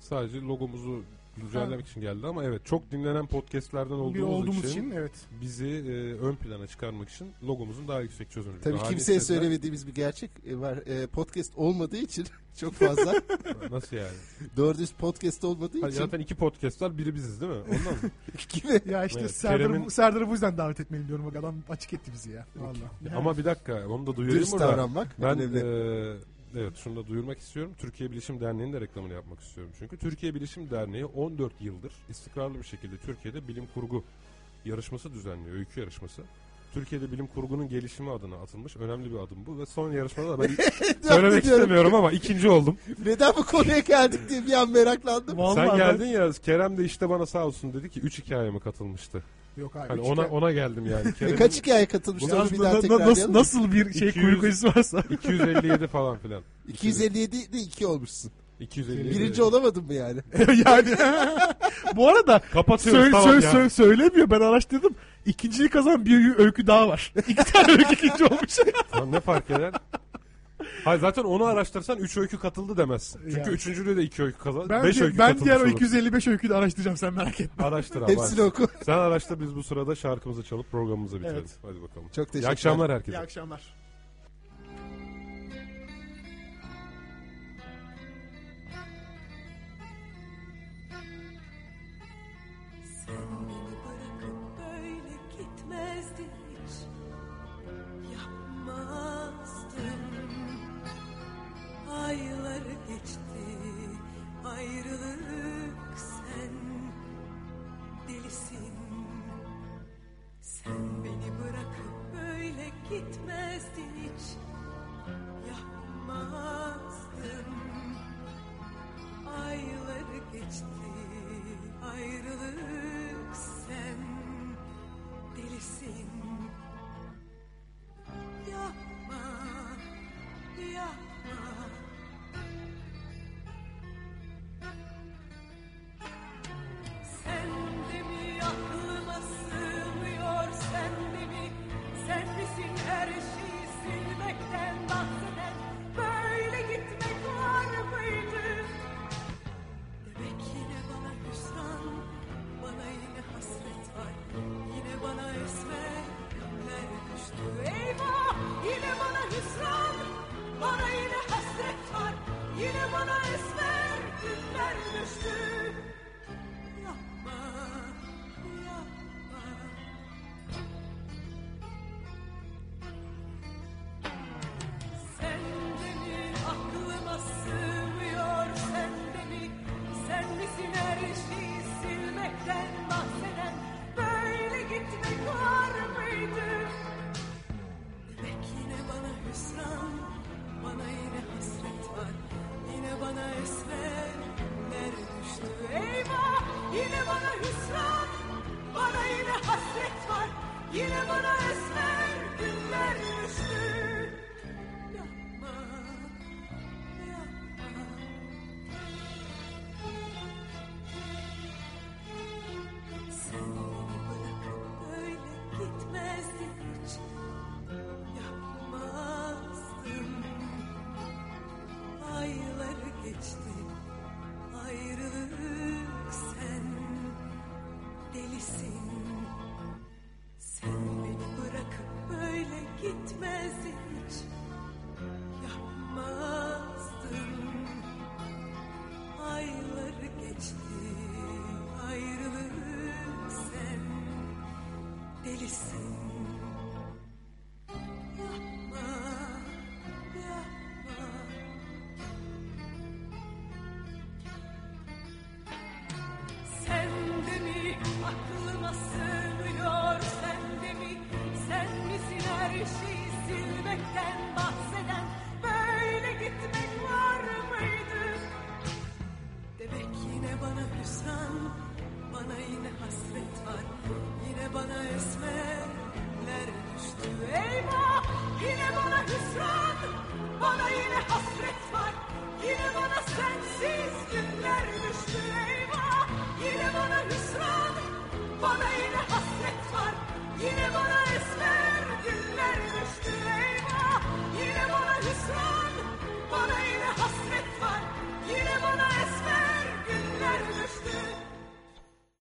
S2: Sadece logomuzu güncellemek için geldi ama evet çok dinlenen podcastlerden olduğumuz,
S4: bir olduğumuz
S2: için,
S4: için, evet.
S2: bizi e, ön plana çıkarmak için logomuzun daha yüksek çözünürlükte.
S3: Tabii
S2: halini
S3: kimseye
S2: istediler.
S3: söylemediğimiz bir gerçek e, var. E, Podcast olmadığı için çok fazla.
S2: Nasıl yani?
S3: Doğru düz podcast olmadığı
S2: Ha,
S3: için
S2: zaten iki podcast var biri biziz değil mi? Ondan mı?
S3: kimi
S4: Ya işte
S2: Evet,
S4: Serdar'ı
S2: Kerem'in-
S4: bu- Serdar'ı bu yüzden davet etmeyelim diyorum. Bak adam açık etti bizi ya. Vallahi.
S2: ama bir dakika onu da duyurayım
S3: dürüst
S2: burada.
S3: davranmak
S2: Ben e,
S3: önemli.
S2: eee, evet şunu da duyurmak istiyorum. Türkiye Bilişim Derneği'nin de reklamını yapmak istiyorum. Çünkü Türkiye Bilişim Derneği 14 yıldır istikrarlı bir şekilde Türkiye'de bilim kurgu yarışması düzenliyor. Öykü yarışması. Türkiye'de bilim kurgunun gelişimi adına atılmış önemli bir adım bu. Ve son yarışmada da ben söylemek
S3: Diyorum.
S2: istemiyorum ama ikinci oldum.
S3: Neden bu konuya geldik diye bir an meraklandım.
S4: Vallahi
S2: Sen
S4: ben-
S2: geldin ya Kerem de işte bana sağ olsun dedi ki 3 hikayeme katılmıştı.
S4: Yok abi. şey-
S2: Hani
S4: üç
S2: ona
S4: kere-
S2: ona geldim yani.
S3: E,
S2: Kerem'in
S3: kaç hikaye katılmıştı
S4: Ya
S3: onu bir
S4: na-
S3: daha
S4: na- nasıl,
S3: tekrarlayalım.
S4: nasıl bir şey
S2: 200
S4: kuyrukucusu varsa.
S2: 257 falan filan.
S3: 257 de 2 olmuşsun.
S2: 257.
S3: Birinci olamadın mı yani?
S4: yani bu arada
S2: Kapatıyoruz
S4: söyle,
S2: tamam
S4: söyle,
S2: ya.
S4: söyle- söylemiyor ben araştırdım. İkinciyi kazanan bir öykü daha var. İki tane öykü ikinci olmuş.
S2: Lan ne fark eder? Hayır zaten onu araştırsan 3 öykü katıldı demezsin. Çünkü
S4: Yani.
S2: üçüncülüğü de 2 öykü kazandı.
S4: Ben,
S2: 5
S4: di-
S2: öykü
S4: ben
S2: katılmış
S4: diğer o
S2: olur.
S4: 255 öyküyü de araştıracağım sen merak etme.
S2: Araştır abi.
S3: Hepsini
S2: hadi.
S3: oku.
S2: Sen araştır biz bu sırada şarkımızı çalıp programımızı bitirelim.
S4: Evet.
S2: Hadi bakalım. İyi
S3: Çok teşekkürler.
S2: akşamlar
S4: İyi
S2: herkese.
S4: akşamlar.
S7: Sen beni bırakıp böyle gitmezdin hiç Yapmazdım Ayları geçti ayrılık sen delisin Sen beni bırakıp böyle gitmezdin hiç Yapmazdım Ayları geçti ayrılık sen delisin bana esmer günler düştü. Yapma, yapma. Sen de mi aklıma sığmıyor sen de mi? Sen misin her şeyi silmekten bahseden? Böyle gitmek var mıydı? Demek yine bana hüsran, bana yine hasret var. Yine bana esmerler düştü. Eyvah! Yine bana hüsran, bana yine hasret var. Yine bana